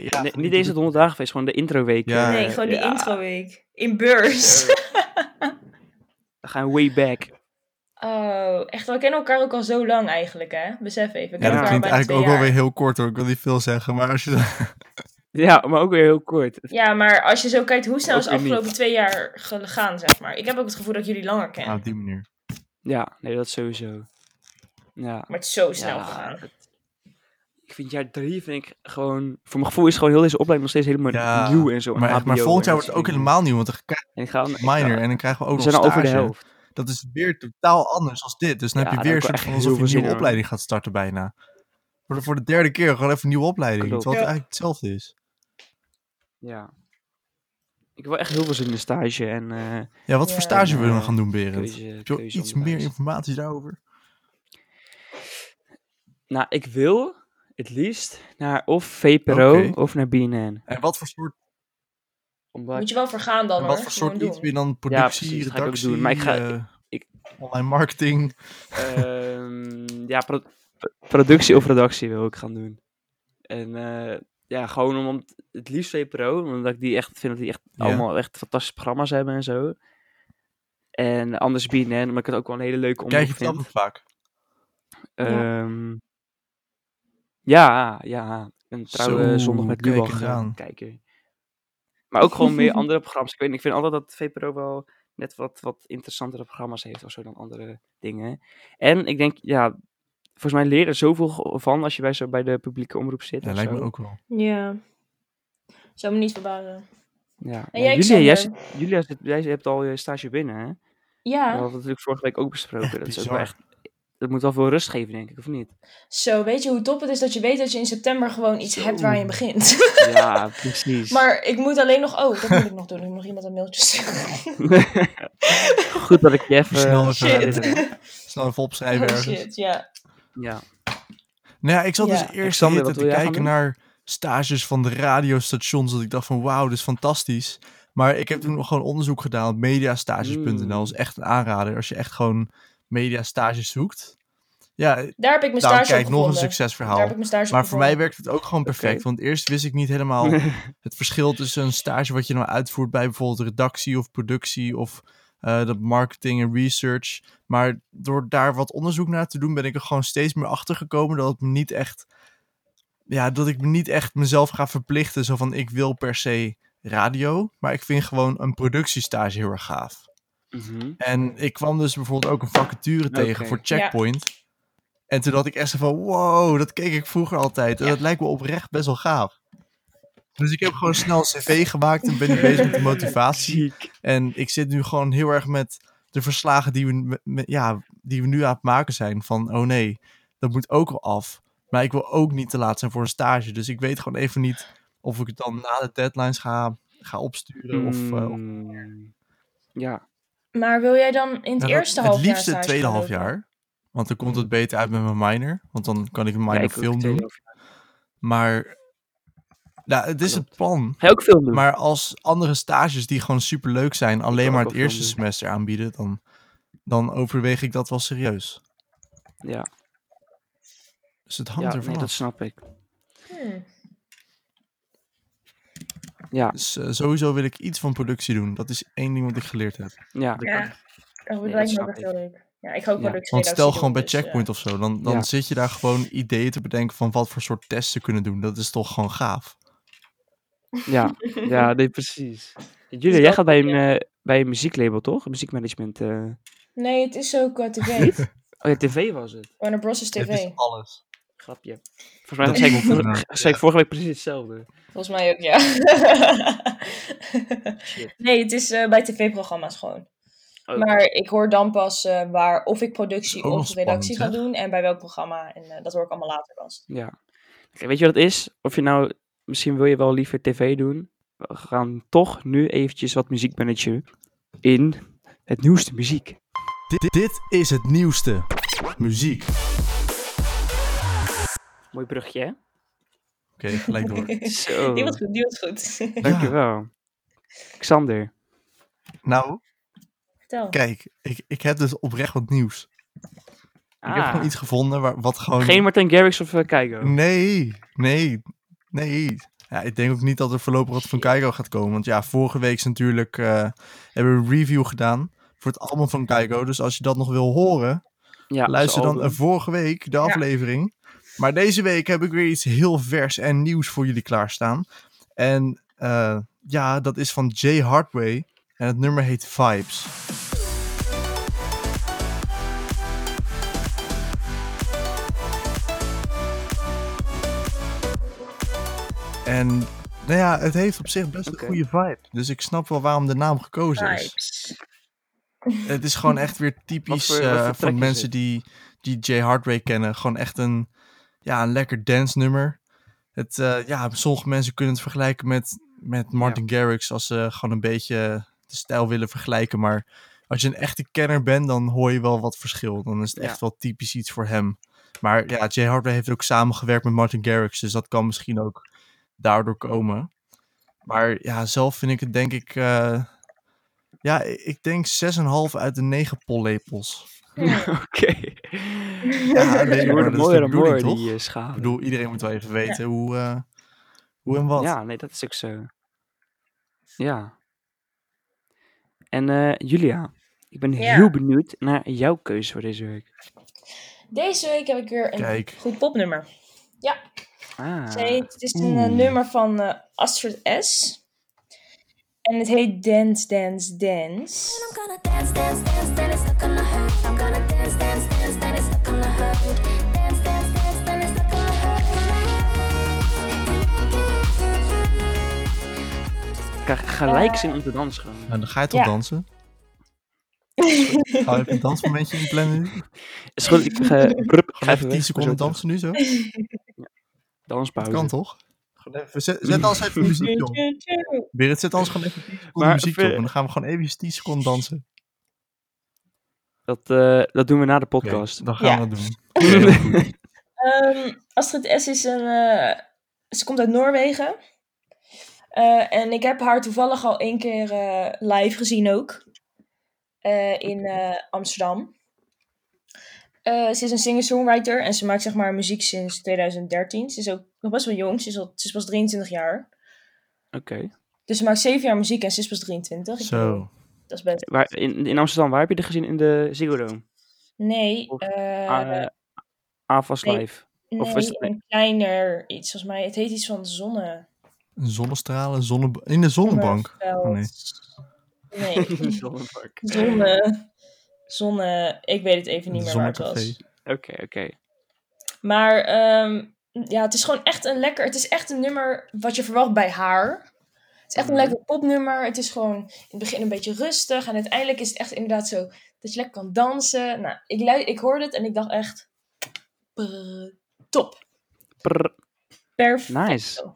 Speaker 1: Ja,
Speaker 2: Nee, niet eens het 100 dagen feest, gewoon de introweek.
Speaker 1: Ja.
Speaker 2: eh,
Speaker 3: Nee, gewoon die
Speaker 2: ja.
Speaker 3: introweek. In beurs.
Speaker 2: We gaan way back.
Speaker 3: Oh, echt, we kennen elkaar ook al zo lang eigenlijk, hè? Besef even. We
Speaker 1: Ja,
Speaker 3: kennen
Speaker 2: Ja.
Speaker 1: dat
Speaker 3: elkaar al
Speaker 1: klinkt
Speaker 3: bijna
Speaker 1: eigenlijk
Speaker 3: twee
Speaker 1: ook wel
Speaker 3: jaar.
Speaker 1: weer heel kort hoor. Ik wil niet veel zeggen, maar als je
Speaker 2: Ja, maar ook weer heel kort.
Speaker 3: Ja, maar als je zo kijkt hoe snel
Speaker 2: Ook
Speaker 3: is de
Speaker 2: weer niet.
Speaker 3: afgelopen twee jaar gegaan, zeg maar. Ik heb ook het gevoel dat ik jullie langer ken.
Speaker 1: Ah, op die manier.
Speaker 2: Ja, nee, dat sowieso. Ja.
Speaker 3: Maar het is zo snel
Speaker 2: ja,
Speaker 3: gegaan.
Speaker 2: het- ik vind jaar drie, vind ik gewoon... Voor mijn gevoel is gewoon heel deze opleiding nog steeds helemaal
Speaker 1: Ja,
Speaker 2: nieuw en zo. en
Speaker 1: Maar, echt, maar
Speaker 2: HBO
Speaker 1: volgend jaar
Speaker 2: en
Speaker 1: wordt het ook
Speaker 2: dat soort
Speaker 1: helemaal nieuw, want dan krijg
Speaker 2: dingen. En ik ga, ik
Speaker 1: je minor
Speaker 2: ga-
Speaker 1: en dan krijgen we ook
Speaker 2: we
Speaker 1: nog
Speaker 2: zijn al over de
Speaker 1: stage.
Speaker 2: helft.
Speaker 1: Dat is weer totaal anders als dit. Dus dan
Speaker 2: Ja,
Speaker 1: heb je
Speaker 2: daar
Speaker 1: weer
Speaker 2: heb
Speaker 1: een soort
Speaker 2: ik wel echt
Speaker 1: van
Speaker 2: heel
Speaker 1: alsof je
Speaker 2: veel
Speaker 1: een
Speaker 2: zin
Speaker 1: nieuwe
Speaker 2: in.
Speaker 1: opleiding gaat starten bijna. Voor de, voor de derde keer gewoon even een nieuwe opleiding.
Speaker 2: Klopt.
Speaker 1: Terwijl het
Speaker 3: Ja.
Speaker 1: eigenlijk hetzelfde is.
Speaker 2: Ja. Ik heb wel echt heel veel zin in de stage en... eh,
Speaker 1: Ja, wat
Speaker 3: Ja.
Speaker 1: voor stage willen we
Speaker 2: Ja,
Speaker 1: dan gaan doen, Berend?
Speaker 2: keuze-
Speaker 1: Heb je wel
Speaker 2: keuze
Speaker 1: iets meer
Speaker 2: onderwijs.
Speaker 1: informatie daarover?
Speaker 2: nou, ik wil het liefst naar of VPRO
Speaker 1: Oké.
Speaker 2: of naar BNN.
Speaker 1: En wat voor soort,
Speaker 2: Omdat
Speaker 3: Moet je wel voor gaan dan,
Speaker 1: en
Speaker 3: hoor.
Speaker 1: wat voor
Speaker 3: Gewoon
Speaker 1: soort iets
Speaker 3: doen.
Speaker 1: wil je dan?
Speaker 2: precies,
Speaker 1: Productie,
Speaker 2: dat ga ik ook
Speaker 1: redactie,
Speaker 2: doen, maar ik ga-
Speaker 1: eh,
Speaker 2: ik-
Speaker 1: online marketing.
Speaker 2: Ehm, ja, pro- pro- productie of redactie wil ik gaan doen. En eh, ja, gewoon om, om t- het liefst VPRO, omdat ik die echt vind dat die echt
Speaker 1: Ja.
Speaker 2: allemaal echt fantastische programma's hebben en zo. En anders BNN, omdat ik het ook wel een hele leuke omroep
Speaker 1: Kijk je het
Speaker 2: vind.
Speaker 1: dan vaak?
Speaker 3: Ja.
Speaker 2: Ehm, ja, ja. Een trouwe
Speaker 1: Zo,
Speaker 2: zondag met
Speaker 1: kijk
Speaker 2: Lubach
Speaker 1: eens
Speaker 2: eh,
Speaker 1: aan.
Speaker 2: kijken. Maar ook gewoon meer andere programma's. Ik, weet, niet, ik vind altijd dat VPRO wel net wat, wat interessantere programma's heeft of zo dan andere dingen. En ik denk, ja, volgens mij leer je er zoveel ge- van als je bij, zo bij de publieke omroep zit.
Speaker 1: Ja,
Speaker 2: of
Speaker 1: lijkt
Speaker 2: zo.
Speaker 1: me ook wel.
Speaker 3: Ja. Zou me niet verbaren.
Speaker 2: Ja.
Speaker 3: En
Speaker 2: Ja,
Speaker 3: jij,
Speaker 2: Julia, jij,
Speaker 3: Xander?
Speaker 2: zit- Julia zit- jij hebt al je stage binnen, hè? We
Speaker 3: Ja.
Speaker 2: hadden het natuurlijk vorige week ook besproken.
Speaker 1: Echt
Speaker 2: dat, is ook wel
Speaker 1: bizar.
Speaker 2: echt, dat moet wel veel rust geven, denk ik, of niet?
Speaker 3: Zo, weet je hoe top het is dat je weet dat je in september gewoon iets
Speaker 1: Zo.
Speaker 3: hebt waar je aan begint.
Speaker 2: Ja, precies.
Speaker 3: maar ik moet alleen nog... Oh, dat moet ik nog doen. Ik moet nog iemand een mailtje sturen.
Speaker 2: Goed dat ik je even... eh,
Speaker 1: Snel even
Speaker 3: Shit.
Speaker 1: dit, Snel even opschrijven
Speaker 3: Oh,
Speaker 1: ergens.
Speaker 3: shit, ja.
Speaker 2: Ja.
Speaker 1: Nou ja, ik zat
Speaker 3: Ja.
Speaker 1: dus eerst de
Speaker 2: Xander,
Speaker 1: hele
Speaker 2: wat
Speaker 1: tijd te
Speaker 2: wil jij gaan
Speaker 1: kijken
Speaker 2: doen?
Speaker 1: naar stages van de radiostations. Dat ik dacht van wauw, dit is fantastisch. Maar ik heb toen nog gewoon onderzoek gedaan op mediastages.nl.
Speaker 2: Mm.
Speaker 1: is echt een aanrader als je echt gewoon mediastages zoekt. Ja,
Speaker 3: Daar heb ik
Speaker 1: daarom
Speaker 3: mijn stage op
Speaker 1: Nou, kijk, nog een
Speaker 3: gevonden. Daar
Speaker 1: succesverhaal.
Speaker 3: heb ik mijn stage op
Speaker 1: Maar voor mij
Speaker 3: gevonden.
Speaker 1: werkt het ook gewoon perfect.
Speaker 2: Oké.
Speaker 1: Want eerst wist ik niet helemaal het verschil tussen een stage wat je nou uitvoert bij bijvoorbeeld redactie of productie of eh dat marketing en research. Maar door daar wat onderzoek naar te doen, ben ik er gewoon steeds meer achter gekomen dat het me niet echt. Ja, dat ik me niet echt mezelf ga verplichten. Zo van ik wil per se radio. Maar ik vind gewoon een productiestage heel erg gaaf.
Speaker 2: Mhm.
Speaker 1: En ik kwam dus bijvoorbeeld ook een vacature
Speaker 2: Oké.
Speaker 1: tegen voor
Speaker 3: Ja.
Speaker 1: Checkpoint. En toen had ik echt zo van, wow, dat keek ik vroeger altijd. En dat lijkt me oprecht best wel gaaf. Dus ik heb gewoon snel een cv gemaakt en ben nu bezig met de motivatie.
Speaker 2: Ziek.
Speaker 1: En ik zit nu gewoon heel erg met de verslagen die we, me- me- ja, die we nu aan het maken zijn. Van, oh nee, dat moet ook wel af. Maar ik wil ook niet te laat zijn voor een stage. Dus ik weet gewoon even eh,
Speaker 2: Hmm.
Speaker 1: niet of ik het dan na de deadlines ga, ga opsturen. Of, eh, of-
Speaker 2: Mm. Ja.
Speaker 3: Maar wil jij dan in het
Speaker 1: Nou, dat-
Speaker 3: eerste halfjaar
Speaker 1: Het liefste het
Speaker 3: stage
Speaker 1: tweede
Speaker 3: gaan
Speaker 1: half
Speaker 3: lopen?
Speaker 1: jaar. Want dan komt het beter uit met mijn minor. Want dan kan ik een minor
Speaker 2: Ja, ik ook
Speaker 1: film
Speaker 2: tweede
Speaker 1: doen.
Speaker 2: halfjaar.
Speaker 1: Maar nou, het is het
Speaker 2: Klopt.
Speaker 1: plan.
Speaker 2: Ga je ook film doen?
Speaker 1: Maar als andere stages die gewoon super leuk zijn, alleen
Speaker 2: ook
Speaker 1: maar
Speaker 2: wel
Speaker 1: het eerste
Speaker 2: film doen.
Speaker 1: semester aanbieden, dan, dan overweeg ik dat wel serieus.
Speaker 2: ja,
Speaker 1: Dus het
Speaker 2: ja
Speaker 1: hangt ervan
Speaker 2: nee, dat
Speaker 1: af.
Speaker 2: snap ik.
Speaker 3: Hmm.
Speaker 2: Ja,
Speaker 1: Dus eh, sowieso wil ik iets van productie doen. Dat is één ding wat ik geleerd heb.
Speaker 2: ja.
Speaker 3: Ja. Oh, dat
Speaker 2: Nee,
Speaker 3: lijkt me ook
Speaker 2: dat snap
Speaker 3: echt
Speaker 2: ik.
Speaker 3: heel leuk. Ja, ik ga ook
Speaker 2: Ja.
Speaker 3: wel leuk
Speaker 1: Want stel gewoon bij
Speaker 3: checkpoints.
Speaker 1: Checkpoint of zo, dan, dan
Speaker 2: Ja.
Speaker 1: zit je daar gewoon ideeën te bedenken van wat voor soort testen kunnen doen. Dat is toch gewoon gaaf.
Speaker 2: Ja, ja nee, precies. Julia, jij
Speaker 3: dat-
Speaker 2: gaat bij een, eh, bij een muzieklabel, toch? Een Muziekmanagement. eh.
Speaker 3: Nee, het is ook eh, tv.
Speaker 2: Oh ja, tv was het.
Speaker 3: Warner Bros. is
Speaker 1: Het is
Speaker 3: tv.
Speaker 1: alles.
Speaker 2: Grapje. Volgens mij
Speaker 1: Dat
Speaker 2: zei ik,
Speaker 1: komt eraan.
Speaker 2: vorige, zei ik vorige week precies hetzelfde.
Speaker 3: Volgens mij ook, ja. nee, het is eh, bij tv-programma's gewoon.
Speaker 2: Oh,
Speaker 3: Maar ik hoor dan pas eh, waar of ik productie
Speaker 1: Dat is ook
Speaker 3: of
Speaker 1: nog
Speaker 3: redactie
Speaker 1: spannend,
Speaker 3: ga doen en bij welk programma. En eh, dat hoor ik allemaal later pas.
Speaker 2: Ja. Kijk, weet je wat het is? Of je nou, misschien wil je wel liever tv doen. We gaan toch nu eventjes wat muziek managen in het nieuwste muziek.
Speaker 1: Dit, dit is het nieuwste. Muziek. Oké,
Speaker 2: Mooi brugje, hè?
Speaker 1: gelijk door.
Speaker 2: Zo.
Speaker 3: Die was goed, die was goed.
Speaker 2: Dankjewel. Xander.
Speaker 1: Nou,
Speaker 3: Vertel.
Speaker 1: kijk, ik, ik heb dus oprecht wat nieuws. Ik heb
Speaker 2: Ah,
Speaker 1: gewoon iets Mm, gevonden waar, wat gewoon...
Speaker 2: geen Martin Garrix of eh, Keigo?
Speaker 1: Nee, nee, nee. Ja, ik denk ook niet dat er voorlopig wat van Keigo gaat komen. Want ja, vorige week is natuurlijk, eh, hebben we een review gedaan voor het album van Keigo. Dus als je dat nog wil horen,
Speaker 2: Ja,
Speaker 1: luister
Speaker 2: zijn
Speaker 1: dan eh,
Speaker 2: album.
Speaker 1: vorige week de aflevering. Maar deze week heb ik weer iets heel vers en nieuws voor jullie klaarstaan. En eh, ja, dat is van Jay Hardway. En het nummer heet Vibes. En nou ja, het heeft op zich best
Speaker 2: Oké.
Speaker 1: een goede vibe. Dus ik snap wel waarom de naam gekozen is.
Speaker 3: Vibes.
Speaker 1: Het is gewoon echt weer typisch
Speaker 2: Wat voor- wat
Speaker 1: eh,
Speaker 2: voor track
Speaker 1: van
Speaker 2: is
Speaker 1: mensen
Speaker 2: het?
Speaker 1: die, die Jay Hardway kennen. Gewoon echt een, ja, een lekker dance nummer. Het, eh, ja, sommige mensen kunnen het vergelijken met, met Martin Garrix als ze gewoon een beetje de stijl willen vergelijken. Maar als je een echte kenner bent, dan hoor je wel wat verschil. Dan is het
Speaker 2: Ja.
Speaker 1: echt wel typisch iets voor hem. Maar ja, Jay Hardway heeft ook samengewerkt met Martin Garrix. Dus dat kan misschien ook daardoor komen. Maar ja, zelf vind ik het denk ik... eh, ja, i- ik denk 6,5 uit de 9 pollepels.
Speaker 3: Hmm.
Speaker 2: Oké.
Speaker 1: Ja, nee,
Speaker 2: Die
Speaker 1: maar dat
Speaker 2: worden
Speaker 1: is
Speaker 2: mooier
Speaker 1: de
Speaker 2: en
Speaker 1: bedoeling,
Speaker 2: mooier,
Speaker 1: toch?
Speaker 2: die eh,
Speaker 1: Ik
Speaker 2: schalen.
Speaker 1: bedoel, iedereen moet wel even weten hoe, eh, hoe en wat.
Speaker 2: Ja, nee, dat is ook zo. Ja. En eh, Julia, ik ben
Speaker 3: Ja.
Speaker 2: heel benieuwd naar jouw keuze voor deze week.
Speaker 3: Deze week heb ik weer een
Speaker 1: Kijk.
Speaker 3: goed popnummer.
Speaker 2: Ah,
Speaker 3: Het, heet- het is een eh,
Speaker 1: Oeh.
Speaker 3: nummer van eh, Astrid S. En het heet Dance, Dance, Dance.
Speaker 4: I'm gonna dance, dance, dance, then it's not gonna hurt. I'm gonna dance, dance, dance, then it's not gonna hurt. Dance, dance, dance, then it's not gonna hurt.
Speaker 2: ik krijg gelijk zin om te dansen gewoon.
Speaker 1: En dan ga je toch
Speaker 3: Ja.
Speaker 1: dansen? Ga je even een dansmomentje inplannen nu?
Speaker 2: Is goed, ik eh, brup, ga
Speaker 1: Gewoon
Speaker 2: even
Speaker 1: even 10
Speaker 2: weg, zo
Speaker 1: seconden
Speaker 2: terug.
Speaker 1: dansen nu zo? Dat
Speaker 2: Danspauze.
Speaker 1: kan toch? Gewoon even- Zet, zet anders even muziek op. Berit, zet anders gewoon even 10 seconden
Speaker 2: Maar
Speaker 1: muziek op.
Speaker 2: ver-
Speaker 1: En dan gaan we gewoon even 10 seconden dansen.
Speaker 2: Dat, eh, dat doen we na de
Speaker 1: Oké,
Speaker 2: podcast.
Speaker 1: dan gaan
Speaker 3: Ja.
Speaker 1: we dat doen. Oké, heel goed.
Speaker 3: Ehm, Astrid S is een. eh, ze komt uit Noorwegen. Eh, en ik heb haar toevallig al één keer eh, live gezien ook. Eh, in eh, Amsterdam. Eh, ze is een singer-songwriter en ze maakt zeg maar muziek sinds 2013. Ze is ook nog best wel jong, ze is, al, ze is pas 23 jaar.
Speaker 2: Oké.
Speaker 3: Dus ze maakt 7 jaar muziek en ze is pas 23. Ik bedoel,
Speaker 1: Zo.
Speaker 3: Dat is best.
Speaker 2: Waar- In, in Amsterdam, waar heb je dit gezien? In de Ziggo Dome?
Speaker 3: Nee,
Speaker 2: Of,
Speaker 3: eh,
Speaker 2: Ah, AFAS
Speaker 3: nee.
Speaker 2: Live.
Speaker 3: nee
Speaker 2: of is het-
Speaker 3: een kleiner iets volgens mij. Het heet iets van zonne.
Speaker 1: Zonnestralen, zonne... in de zonnebank. Oh, nee.
Speaker 3: Nee.
Speaker 2: Zonnepark.
Speaker 3: Zonne. Zonne. Ik weet het even niet meer waar het
Speaker 1: Zonnecafé.
Speaker 3: was.
Speaker 2: Oké, oké.
Speaker 3: Maar ehm, ja, het is gewoon echt een lekker. Het is echt een nummer wat je verwacht bij haar. Het is echt een
Speaker 1: Mm.
Speaker 2: Mhm.
Speaker 3: lekker popnummer. Het is gewoon in het begin een beetje rustig. En uiteindelijk is het echt inderdaad zo dat je lekker kan dansen. Nou, ik, lu- ik hoorde het en ik dacht echt. brr, top.
Speaker 2: Prr.
Speaker 1: Nou.
Speaker 3: Perfect.
Speaker 2: Nice.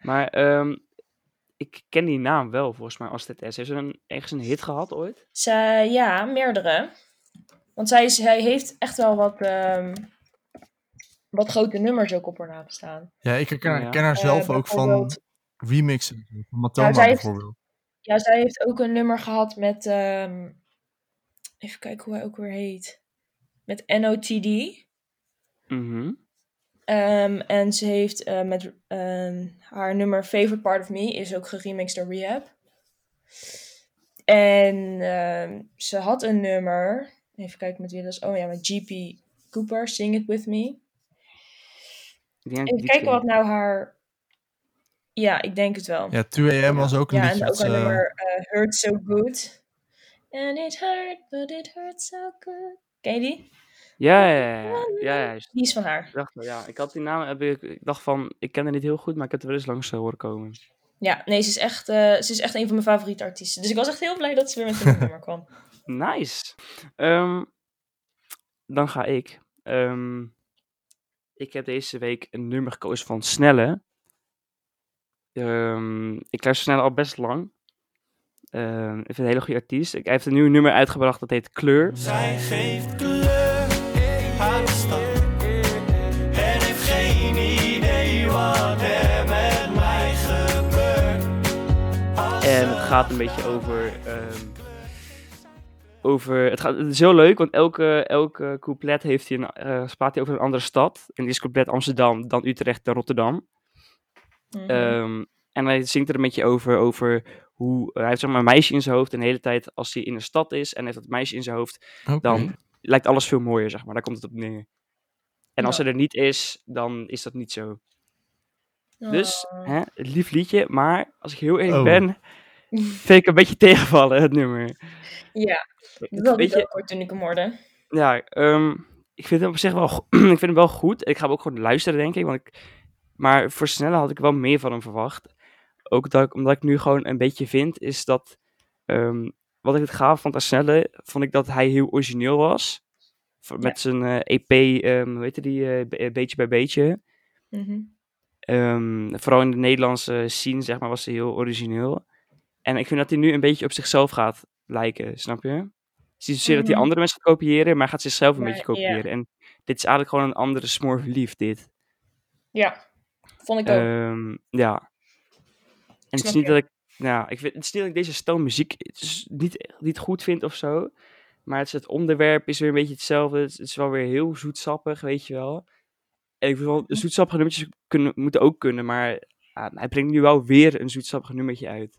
Speaker 2: Maar ehm, ik ken die naam wel, volgens mij, als dit S. Heeft ze een, ergens een hit gehad ooit?
Speaker 3: Zij, ja, meerdere. Want zij, is, hij heeft echt wel wat, ehm, wat grote nummers ook op haar naam staan.
Speaker 1: Ja, ik herken,
Speaker 2: Ja.
Speaker 1: ken haar zelf
Speaker 3: Eh,
Speaker 1: ook van
Speaker 3: bijvoorbeeld-
Speaker 1: remixen. Van Matoma
Speaker 3: Ja, zij heeft-
Speaker 1: bijvoorbeeld.
Speaker 3: Ja, zij heeft ook een nummer gehad met... ehm, even kijken hoe hij ook weer heet. Met NOTD.
Speaker 2: Mhm.
Speaker 3: Ehm, en ze heeft eh, met ehm, haar nummer Favorite Part of Me is ook geremixed door Rehab. En ehm, ze had een nummer. Even kijken met wie dat is. Oh ja, met GP Cooper, Sing It With Me.
Speaker 1: Oh,
Speaker 2: Ik denk dat
Speaker 3: Even
Speaker 2: die
Speaker 3: kijken
Speaker 2: ken.
Speaker 3: wat nou haar. Ja, ik denk het wel.
Speaker 1: Ja, 2AM was ook een
Speaker 3: Ja,
Speaker 1: liedje.
Speaker 3: en
Speaker 1: dat
Speaker 3: ook haar
Speaker 1: ze-
Speaker 3: nummer eh, Hurt So Good. And it hurt, but it hurt so good. Ken je die?
Speaker 2: Ja, ja, ja, ja. ja, ja, juist.
Speaker 3: Die is van haar.
Speaker 2: Ik dacht, wel, ja, ik had die naam, heb ik, ik dacht van, ik ken haar niet heel goed, maar ik heb er wel eens langs eh, horen komen.
Speaker 3: Ja, nee, ze is echt, eh, ze is echt een van mijn favoriete artiesten. Dus ik was echt heel blij dat ze weer met een nieuw nummer kwam.
Speaker 2: Nice. Ehm, dan ga ik. Ehm, ik heb deze week een nummer gekozen van Snelle. Ehm, ik luister Snelle al best lang. Ehm, ik vind het een hele goede artiest. Ik, hij heeft een nieuw nummer uitgebracht dat heet Kleur.
Speaker 5: Zij geeft kleur aan de stad. En heeft geen idee wat er met mij gebeurt.
Speaker 2: En het gaat een beetje over. ehm, over het, gaat, het is heel leuk, want elke, elke couplet heeft hij een, eh, praat hij over een andere stad. En die is couplet Amsterdam, dan Utrecht, dan Rotterdam.
Speaker 3: Mhm.
Speaker 2: Ehm, en hij zingt er een beetje over, over hoe... hij heeft zeg maar een meisje in zijn hoofd en de hele tijd als hij in een stad is en heeft dat meisje in zijn hoofd,
Speaker 1: Oké.
Speaker 2: dan
Speaker 3: Mhm.
Speaker 2: lijkt alles veel mooier, zeg maar. Daar komt het op neer. En als
Speaker 3: Ja.
Speaker 2: ze er niet is, dan is dat niet zo. Dus,
Speaker 3: Oh.
Speaker 2: hè, het lief liedje, maar als ik heel eerlijk
Speaker 1: Oh.
Speaker 2: ben, vind ik een beetje tegenvallen, het nummer.
Speaker 3: Ja, dat
Speaker 2: Weet
Speaker 3: is
Speaker 2: je,
Speaker 3: ook hoor toen ik hem hoorde.
Speaker 2: ja, ehm, ik vind hem op zich wel, go- ik vind hem wel goed. Ik ga hem ook gewoon luisteren, denk ik. Want ik maar voor sneller had ik wel meer van hem verwacht. Ook dat ik, omdat ik nu gewoon een beetje vind, is dat... ehm, wat ik het gaaf vond aan Snelle, vond ik dat hij heel origineel was. Voor- Met zijn eh, EP, ehm, hoe heette die, eh, be- eh, Beetje bij Beetje.
Speaker 3: Mhm.
Speaker 2: Ehm, vooral in de Nederlandse scene, zeg maar, was hij heel origineel. En ik vind dat hij nu een beetje op zichzelf gaat lijken, snap je? Het is niet zozeer dat hij
Speaker 3: Mhm.
Speaker 2: andere mensen gaat kopiëren, maar hij gaat zichzelf een
Speaker 3: Maar,
Speaker 2: beetje kopiëren. En dit is eigenlijk gewoon een andere smorverlief, dit.
Speaker 3: Ja, vond ik ook.
Speaker 2: Ehm, ja. En het
Speaker 3: snap
Speaker 2: is niet
Speaker 3: je.
Speaker 2: dat ik, nou, ik vind, het is niet dat ik deze stijl muziek het is niet, niet goed vind of zo. Maar het, is het onderwerp is weer een beetje hetzelfde. Het is, het is wel weer heel zoetsappig, weet je wel. En ik vind wel,
Speaker 3: Mhm.
Speaker 2: zoetsappige nummertjes kunnen, moeten ook kunnen, maar ah, hij brengt nu wel weer een zoetsappig nummertje uit.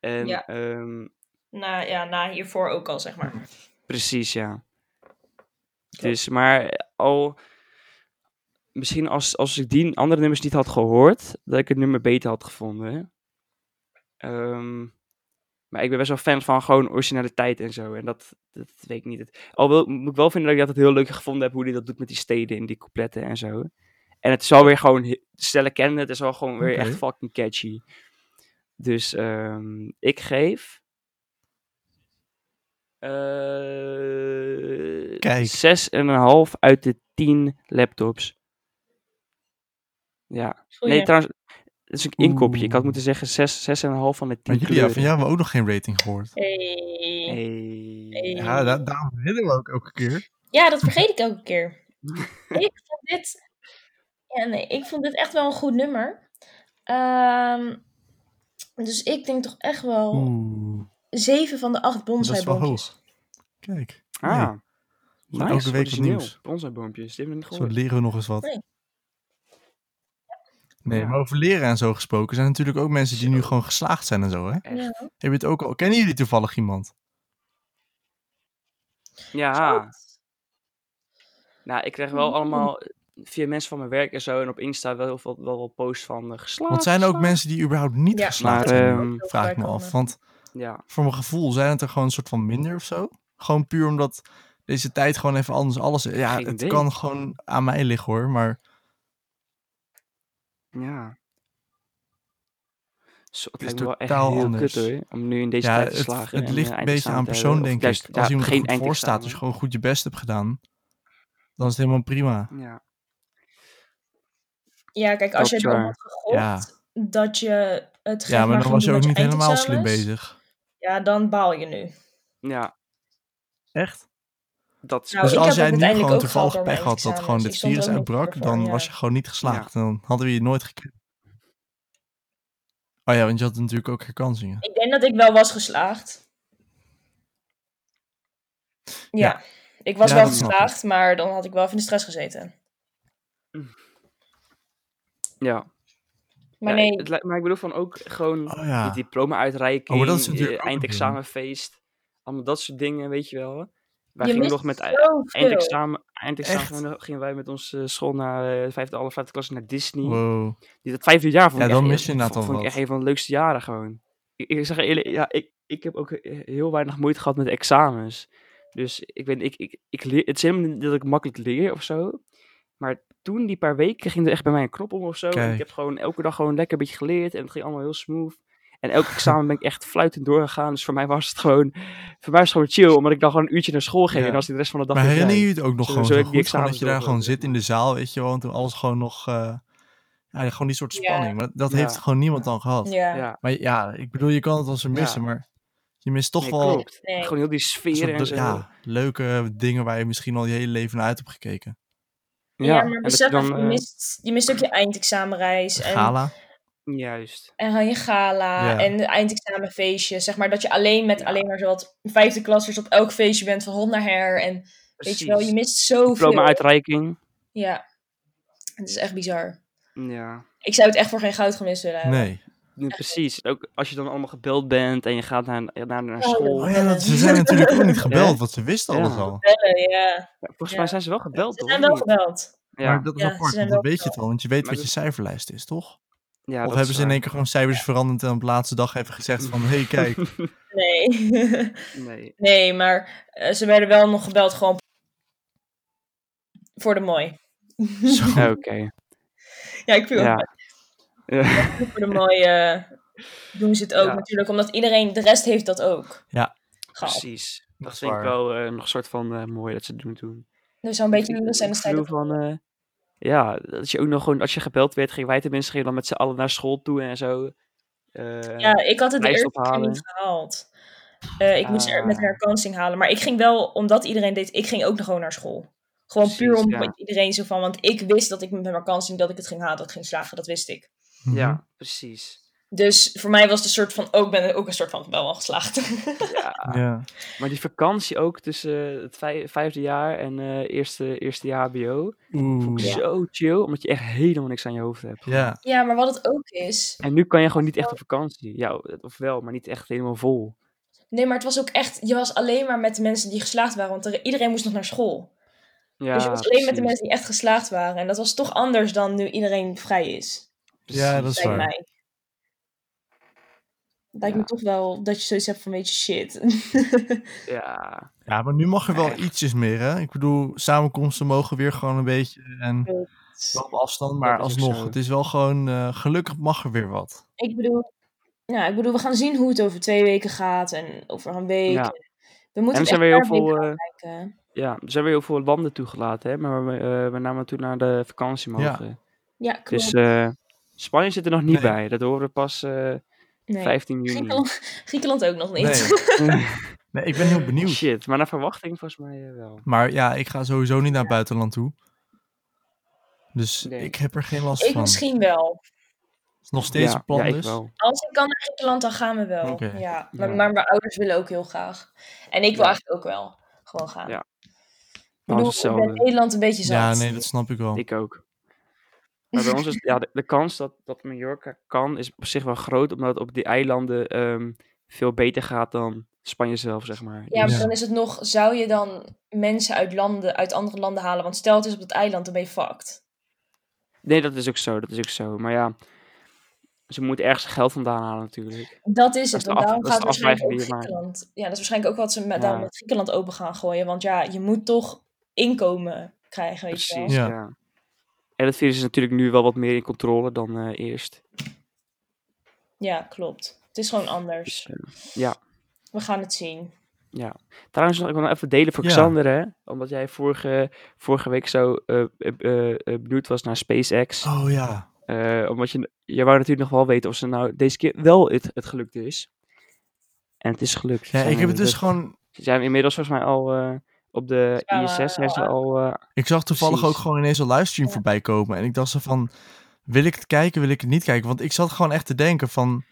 Speaker 2: En,
Speaker 3: Ja.
Speaker 2: ehm,
Speaker 3: Na, ja, na hiervoor ook al, zeg maar.
Speaker 2: Precies, ja.
Speaker 3: Klopt.
Speaker 2: Dus, maar al. Misschien als, als ik die andere nummers niet had gehoord, dat ik het nummer beter had gevonden. Ehm, maar ik ben best wel fan van gewoon originaliteit en zo. En dat, dat weet ik niet. Het- Alhoewel moet ik wel vinden dat ik dat het heel leuk gevonden heb hoe hij dat doet met die steden en die coupletten en zo. En het is wel weer gewoon, he- stellen kennen, het is wel gewoon weer
Speaker 1: Oké.
Speaker 2: echt fucking catchy. Dus ehm, ik geef eh
Speaker 1: Kijk.
Speaker 2: Zes en een half uit de 10 laptops. Ja.
Speaker 3: Goeie.
Speaker 2: Nee, trouwens, dat is een inkopje. Ik had
Speaker 1: Oeh.
Speaker 2: moeten zeggen zes, zes en een half van de 10
Speaker 1: Maar Julia,
Speaker 2: kleuren.
Speaker 1: van jou hebben we ook nog geen rating gehoord.
Speaker 3: Hey.
Speaker 2: Hey.
Speaker 3: Hey.
Speaker 1: Ja, da- daarom winnen we ook elke keer.
Speaker 3: Ja, dat vergeet ik elke keer. ik vond dit... Ja, nee, ik vond dit echt wel een goed nummer. Ehm, dus ik denk toch echt wel
Speaker 1: Oeh,
Speaker 3: zeven van de acht
Speaker 1: Hmm. dat is wel
Speaker 3: bonsai-boompjes.
Speaker 1: hoog. Kijk,
Speaker 2: Ah, nice.
Speaker 1: elke week wat
Speaker 2: origineel.
Speaker 1: nieuws.
Speaker 2: Bonsai-boompjes, die hebben we niet
Speaker 1: zo
Speaker 2: gehoord.
Speaker 1: leren we nog eens wat.
Speaker 3: Nee.
Speaker 1: Nee,
Speaker 2: Ja.
Speaker 1: maar over leren en zo gesproken zijn natuurlijk ook mensen die nu
Speaker 2: Zo.
Speaker 1: gewoon geslaagd zijn en zo, hè?
Speaker 2: Echt.
Speaker 3: Ja.
Speaker 1: Heb je het ook al? Kennen jullie toevallig iemand?
Speaker 2: Ja. Nou, ik krijg wel allemaal via mensen van mijn werk en zo en op Insta wel heel veel wel, wel posts van eh, geslaagd.
Speaker 1: Want zijn er ook
Speaker 2: geslaagd.
Speaker 1: mensen die überhaupt niet
Speaker 3: Oh, Ja.
Speaker 1: geslaagd
Speaker 2: Maar,
Speaker 1: zijn?
Speaker 2: ehm,
Speaker 1: vraag ik me af. Want
Speaker 2: Ja,
Speaker 1: voor mijn gevoel zijn het er gewoon een soort van minder of zo. Gewoon puur omdat deze tijd gewoon even anders alles is. Ja,
Speaker 2: Geen
Speaker 1: het
Speaker 2: idee.
Speaker 1: kan gewoon aan mij liggen hoor. Maar
Speaker 2: ja. Zo,
Speaker 1: Het
Speaker 2: het lijkt
Speaker 1: is
Speaker 2: me wel echt
Speaker 1: totaal
Speaker 2: heel
Speaker 1: anders.
Speaker 2: kut hoor, om nu in deze
Speaker 1: ja,
Speaker 2: tijd te
Speaker 1: het,
Speaker 2: slagen.
Speaker 1: het
Speaker 2: en,
Speaker 1: ligt
Speaker 2: eh,
Speaker 1: een beetje
Speaker 2: eindexamen
Speaker 1: aan
Speaker 2: te
Speaker 1: persoon,
Speaker 2: hebben. Of
Speaker 1: denk ik.
Speaker 2: juist,
Speaker 1: Als
Speaker 2: ja,
Speaker 1: iemand er
Speaker 2: geen
Speaker 1: goed voor staat, dus
Speaker 2: eindexamen.
Speaker 1: gewoon goed je best hebt gedaan, dan is het helemaal prima.
Speaker 2: Ja.
Speaker 3: Ja, kijk, als
Speaker 2: Dat
Speaker 3: je
Speaker 2: is
Speaker 3: het dan
Speaker 2: waar.
Speaker 3: had gegokt, dat je het
Speaker 1: Ja, maar dan was je ook niet helemaal slim
Speaker 3: bezig.
Speaker 1: bezig.
Speaker 3: Ja, dan baal je nu.
Speaker 2: Ja,
Speaker 1: Echt?
Speaker 2: dat is
Speaker 3: Nou,
Speaker 1: dus
Speaker 3: ik
Speaker 1: als
Speaker 3: heb
Speaker 1: jij
Speaker 3: het
Speaker 1: nu
Speaker 3: uiteindelijk
Speaker 1: gewoon
Speaker 3: ook gehad
Speaker 1: toevallig
Speaker 3: door mijn
Speaker 1: pech had dat
Speaker 3: examens.
Speaker 1: gewoon
Speaker 3: Ik
Speaker 1: dit
Speaker 3: stond er
Speaker 1: virus
Speaker 3: ook niet
Speaker 1: uitbrak,
Speaker 3: goed voor,
Speaker 1: dan
Speaker 3: ja.
Speaker 1: was je gewoon niet geslaagd. Dan hadden we je nooit gekend. Oh ja, want je had natuurlijk ook herkansingen.
Speaker 3: Ik denk dat ik wel was geslaagd. Ja,
Speaker 1: Ja.
Speaker 3: ik was
Speaker 1: Ja,
Speaker 3: wel
Speaker 1: dat snap ik.
Speaker 3: geslaagd, maar dan had ik wel even in de stress gezeten.
Speaker 2: ja.
Speaker 3: Maar
Speaker 2: Ja,
Speaker 3: nee,
Speaker 2: het lijkt- maar ik bedoel van ook gewoon
Speaker 1: Oh ja.
Speaker 2: die diploma-uitreiking,
Speaker 1: Oh, maar dat is natuurlijk
Speaker 2: eh,
Speaker 1: ook een ding.
Speaker 2: eindexamenfeest, allemaal dat soort dingen, weet je wel. Wij
Speaker 3: je
Speaker 2: gingen
Speaker 3: mist
Speaker 2: nog met ei-
Speaker 3: zoveel.
Speaker 2: eindexamen,
Speaker 1: Echt?
Speaker 2: eindexamen gingen wij met onze school naar eh, vijfde, alle vijfde klas naar Disney.
Speaker 1: Wow.
Speaker 2: Die, dat vijfde jaar vond
Speaker 1: Ja,
Speaker 2: ik
Speaker 1: dan
Speaker 2: echt-
Speaker 1: mis je inderdaad
Speaker 2: vond,
Speaker 1: al
Speaker 2: vond ik echt
Speaker 1: wat.
Speaker 2: een van de leukste jaren gewoon. Ik, ik zeg je eerlijk, ja, ik, ik heb ook eh, heel weinig moeite gehad met examens. Dus ik weet, ik, ik, ik leer, het is helemaal niet dat ik makkelijk leer of zo. Maar toen, die paar weken, ging er echt bij mij een knop om of zo. En
Speaker 1: Kijk.
Speaker 2: ik heb gewoon elke dag gewoon lekker een beetje geleerd. En het ging allemaal heel smooth. En elk examen ben ik echt fluitend doorgegaan. Dus voor mij was het gewoon, voor mij was het gewoon chill. Omdat ik dan gewoon een uurtje naar school ging.
Speaker 1: Ja.
Speaker 2: En dan was ik de rest van de dag
Speaker 1: Maar
Speaker 2: weer vrij.
Speaker 1: herinner je het ook nog
Speaker 2: Zo-
Speaker 1: gewoon
Speaker 2: zo
Speaker 1: zo
Speaker 2: heb ik die
Speaker 1: goed? Gewoon dat
Speaker 2: examens
Speaker 1: je daar
Speaker 2: ook
Speaker 1: gewoon
Speaker 2: wel,
Speaker 1: zit in de zaal, weet je wel. En toen alles gewoon nog... eh, ja, gewoon die soort
Speaker 3: Ja.
Speaker 1: spanning. Maar dat
Speaker 2: Ja.
Speaker 1: heeft gewoon niemand dan gehad.
Speaker 3: Ja,
Speaker 2: Ja,
Speaker 1: Maar ja, ik bedoel, je kan het wel zo missen, maar je mist toch
Speaker 2: nee,
Speaker 1: wel... een
Speaker 2: klopt.
Speaker 3: nee.
Speaker 2: Gewoon heel die sfeer
Speaker 1: soort-
Speaker 2: en zo.
Speaker 1: ja, leuke dingen waar je misschien al je hele leven naar uit hebt gekeken.
Speaker 3: Ja, maar
Speaker 2: en dat
Speaker 3: besef,
Speaker 2: je
Speaker 3: even,
Speaker 2: dan,
Speaker 3: je,
Speaker 2: eh,
Speaker 3: mist, je mist ook je eindexamenreis en,
Speaker 1: Gala.
Speaker 2: Juist.
Speaker 3: en je gala
Speaker 1: Ja.
Speaker 3: en de eindexamenfeestje. Zeg maar dat je alleen met
Speaker 2: Ja.
Speaker 3: alleen maar zowat vijfde klassers op elk feestje bent van hond naar her. En weet je wel, je mist zoveel.
Speaker 2: Diploma-uitreiking.
Speaker 3: Ja, het is echt bizar.
Speaker 2: Ja.
Speaker 3: Ik zou het echt voor geen goud gemist willen hebben.
Speaker 1: Nee.
Speaker 2: Nee, precies. Ook als je dan allemaal gebeld bent en je gaat naar, naar, naar
Speaker 3: Oh,
Speaker 2: school.
Speaker 1: Oh ja, dat, ze zijn natuurlijk ook niet gebeld,
Speaker 2: Ja.
Speaker 1: want ze wisten
Speaker 2: Ja.
Speaker 1: alles al.
Speaker 3: Bellen, Eh, ja.
Speaker 2: Ja, Volgens
Speaker 3: Ja.
Speaker 2: mij zijn ze wel gebeld,
Speaker 3: Ze
Speaker 2: toch?
Speaker 3: zijn wel
Speaker 2: Of niet?
Speaker 3: gebeld.
Speaker 2: Ja.
Speaker 1: Maar dat is
Speaker 3: Ja, ze
Speaker 1: apart,
Speaker 3: zijn
Speaker 1: want dan
Speaker 3: wel
Speaker 1: weet je het al, want je weet
Speaker 2: Maar
Speaker 1: wat je cijferlijst is, toch?
Speaker 2: Ja,
Speaker 1: of
Speaker 2: dat
Speaker 1: hebben
Speaker 2: is
Speaker 1: ze in
Speaker 2: waar.
Speaker 1: één keer gewoon cijfers veranderd en op de laatste dag even gezegd van, hé hey, kijk,
Speaker 3: Nee.
Speaker 2: Nee.
Speaker 3: nee, maar eh, ze werden wel nog gebeld gewoon voor de mooi.
Speaker 1: zo.
Speaker 2: Oké.
Speaker 3: Ja, ik vind het
Speaker 2: Ja. Ja.
Speaker 3: ook voor de mooi eh, doen ze het ook
Speaker 2: Ja.
Speaker 3: natuurlijk. Omdat iedereen, de rest heeft dat ook.
Speaker 1: Ja.
Speaker 3: Gehaald.
Speaker 2: Precies.
Speaker 1: Dat
Speaker 2: Dat
Speaker 1: is
Speaker 2: vind ik
Speaker 1: waar.
Speaker 2: wel eh, nog een soort van eh, mooi dat ze het doen toen.
Speaker 3: Dus zo'n beetje lullig zijn
Speaker 2: Ik
Speaker 3: de stijl.
Speaker 2: bedoel van... eh, ja, dat je ook nog gewoon... Als je gebeld werd, gingen wij tenminste gingen dan met z'n allen naar school toe en zo. Eh,
Speaker 3: Ja, ik had het de
Speaker 2: lijst
Speaker 3: eerste keer
Speaker 2: ophalen.
Speaker 3: niet gehaald. Eh, ik moest er met
Speaker 2: Ah.
Speaker 3: herkansing halen. Maar ik ging wel, omdat iedereen deed, ik ging ook nog gewoon naar school. Gewoon puur
Speaker 2: Precies,
Speaker 3: om
Speaker 2: ja.
Speaker 3: iedereen zo van, want ik wist dat ik met mijn herkansing, dat ik het ging halen, dat ik ging slagen, dat wist ik.
Speaker 1: Mhm.
Speaker 2: ja, precies. dus
Speaker 3: Dus voor mij was het een soort van, ook ben ik ook een soort van wel al geslaagd.
Speaker 2: Ja.
Speaker 1: Mhm. Ja.
Speaker 2: Maar die vakantie ook tussen eh, het vij- vijfde jaar en eh, eerste, eerste jaar HBO.
Speaker 1: Oeh. Ja.
Speaker 2: Zo chill, omdat je echt helemaal niks aan je hoofd hebt.
Speaker 3: ja, maar wat het ook is,
Speaker 2: En nu kan je gewoon niet echt op vakantie. Ja, of wel, maar niet echt helemaal vol.
Speaker 3: nee, maar het was ook echt, je was alleen maar met de mensen die geslaagd waren, want er- iedereen moest nog naar school.
Speaker 2: Ja,
Speaker 3: dus je was alleen met de mensen die echt geslaagd waren. En dat was toch anders dan nu iedereen vrij is,
Speaker 1: Ja, dat is
Speaker 3: lijkt
Speaker 1: waar.
Speaker 3: mij. Lijkt me
Speaker 2: Ja.
Speaker 3: toch wel dat je zoiets hebt van, weet je, shit.
Speaker 2: Ja,
Speaker 1: Ja, maar nu mag er wel ietsjes meer, hè? Ik bedoel, samenkomsten mogen weer gewoon een beetje en wel op afstand, maar
Speaker 2: Dat is ook
Speaker 1: alsnog,
Speaker 2: zo.
Speaker 1: het is wel gewoon, eh, gelukkig mag er weer wat.
Speaker 3: ik bedoel, nou, ik bedoel, we gaan zien hoe het over twee weken gaat en over een week.
Speaker 2: Ja.
Speaker 3: We moeten
Speaker 2: en er
Speaker 3: het
Speaker 2: zijn
Speaker 3: echt
Speaker 2: weer heel
Speaker 3: per week
Speaker 2: veel,
Speaker 3: gaan
Speaker 2: eh,
Speaker 3: kijken.
Speaker 2: ja, er zijn weer heel veel landen toegelaten, hè? maar we, eh, we namen toen naar de vakantie mogen.
Speaker 3: Ja, klopt.
Speaker 2: Dus eh, Spanje zit er nog niet
Speaker 1: Nee.
Speaker 2: bij, dat horen we pas eh,
Speaker 3: Nee.
Speaker 2: 15 juni.
Speaker 3: Griekenland, Griekenland ook nog niet.
Speaker 1: Nee. Nee, ik ben heel benieuwd.
Speaker 2: Shit, maar naar verwachting volgens mij eh, wel.
Speaker 1: Maar ja, ik ga sowieso niet naar het buitenland toe. Dus
Speaker 2: Nee.
Speaker 1: ik heb er geen last
Speaker 3: Ik
Speaker 1: van.
Speaker 3: misschien wel.
Speaker 1: Het is nog steeds
Speaker 2: ja,
Speaker 1: een plan
Speaker 2: ja, ik
Speaker 1: dus.
Speaker 2: wel.
Speaker 3: Als ik kan naar Griekenland, dan gaan we wel.
Speaker 1: Oké.
Speaker 3: Ja. Maar,
Speaker 2: Ja.
Speaker 3: maar mijn ouders willen ook heel graag. En ik wil
Speaker 2: Ja.
Speaker 3: eigenlijk ook wel gewoon gaan.
Speaker 2: Ja.
Speaker 3: Ik
Speaker 2: Nou,
Speaker 3: bedoel,
Speaker 2: dat is
Speaker 3: ik ben
Speaker 2: hetzelfde.
Speaker 3: Nederland een beetje zat.
Speaker 1: Ja, nee, dat snap ik wel.
Speaker 2: Ik ook. Maar bij ons is ja, de, de kans dat, dat Mallorca kan, is op zich wel groot, omdat het op die eilanden ehm, veel beter gaat dan Spanje zelf, zeg maar.
Speaker 3: Ja, maar
Speaker 1: Ja.
Speaker 3: dan is het nog, zou je dan mensen uit, landen, uit andere landen halen? Want stel het is op dat eiland, dan ben je fucked.
Speaker 2: Nee, dat is ook zo, dat is ook zo. Maar ja, ze moeten ergens geld vandaan halen natuurlijk.
Speaker 3: Dat is
Speaker 2: Dat
Speaker 3: het,
Speaker 2: is de
Speaker 3: want
Speaker 2: af-
Speaker 3: daarom
Speaker 2: dat is
Speaker 3: gaat
Speaker 2: de
Speaker 3: waarschijnlijk ook
Speaker 2: afweging die je
Speaker 3: Griekenland. Ja, dat is waarschijnlijk ook wat ze met,
Speaker 2: Ja.
Speaker 3: daarom met Griekenland open gaan gooien. Want ja, je moet toch inkomen krijgen, weet je wel.
Speaker 2: Precies,
Speaker 1: Ja.
Speaker 2: ja. En het virus is natuurlijk nu wel wat meer in controle dan eh, eerst.
Speaker 3: Ja, klopt. Het is gewoon
Speaker 2: Dus,
Speaker 3: anders.
Speaker 2: eh,
Speaker 3: We gaan het zien.
Speaker 2: Trouwens, nog, ik wil nog even delen voor
Speaker 1: Ja.
Speaker 2: Xander, hè. Omdat jij vorige, vorige week zo eh, eh, eh, eh, benieuwd was naar SpaceX.
Speaker 1: Oh ja.
Speaker 2: Eh, omdat je, je wou natuurlijk nog wel weten of ze nou deze keer wel het, het gelukt is. En het is gelukt. Ze
Speaker 1: Ja,
Speaker 2: zijn
Speaker 1: ik heb het dus
Speaker 2: inmiddels-
Speaker 1: gewoon.
Speaker 2: Ze zijn inmiddels volgens mij al eh, op de
Speaker 3: Ja,
Speaker 2: ISS zijn ze
Speaker 3: al
Speaker 2: al... eh,
Speaker 1: Ik zag toevallig
Speaker 2: Precies.
Speaker 1: ook gewoon ineens een livestream voorbij komen. En ik dacht zo van, wil ik het kijken, wil ik het niet kijken? Want ik zat gewoon echt te denken van,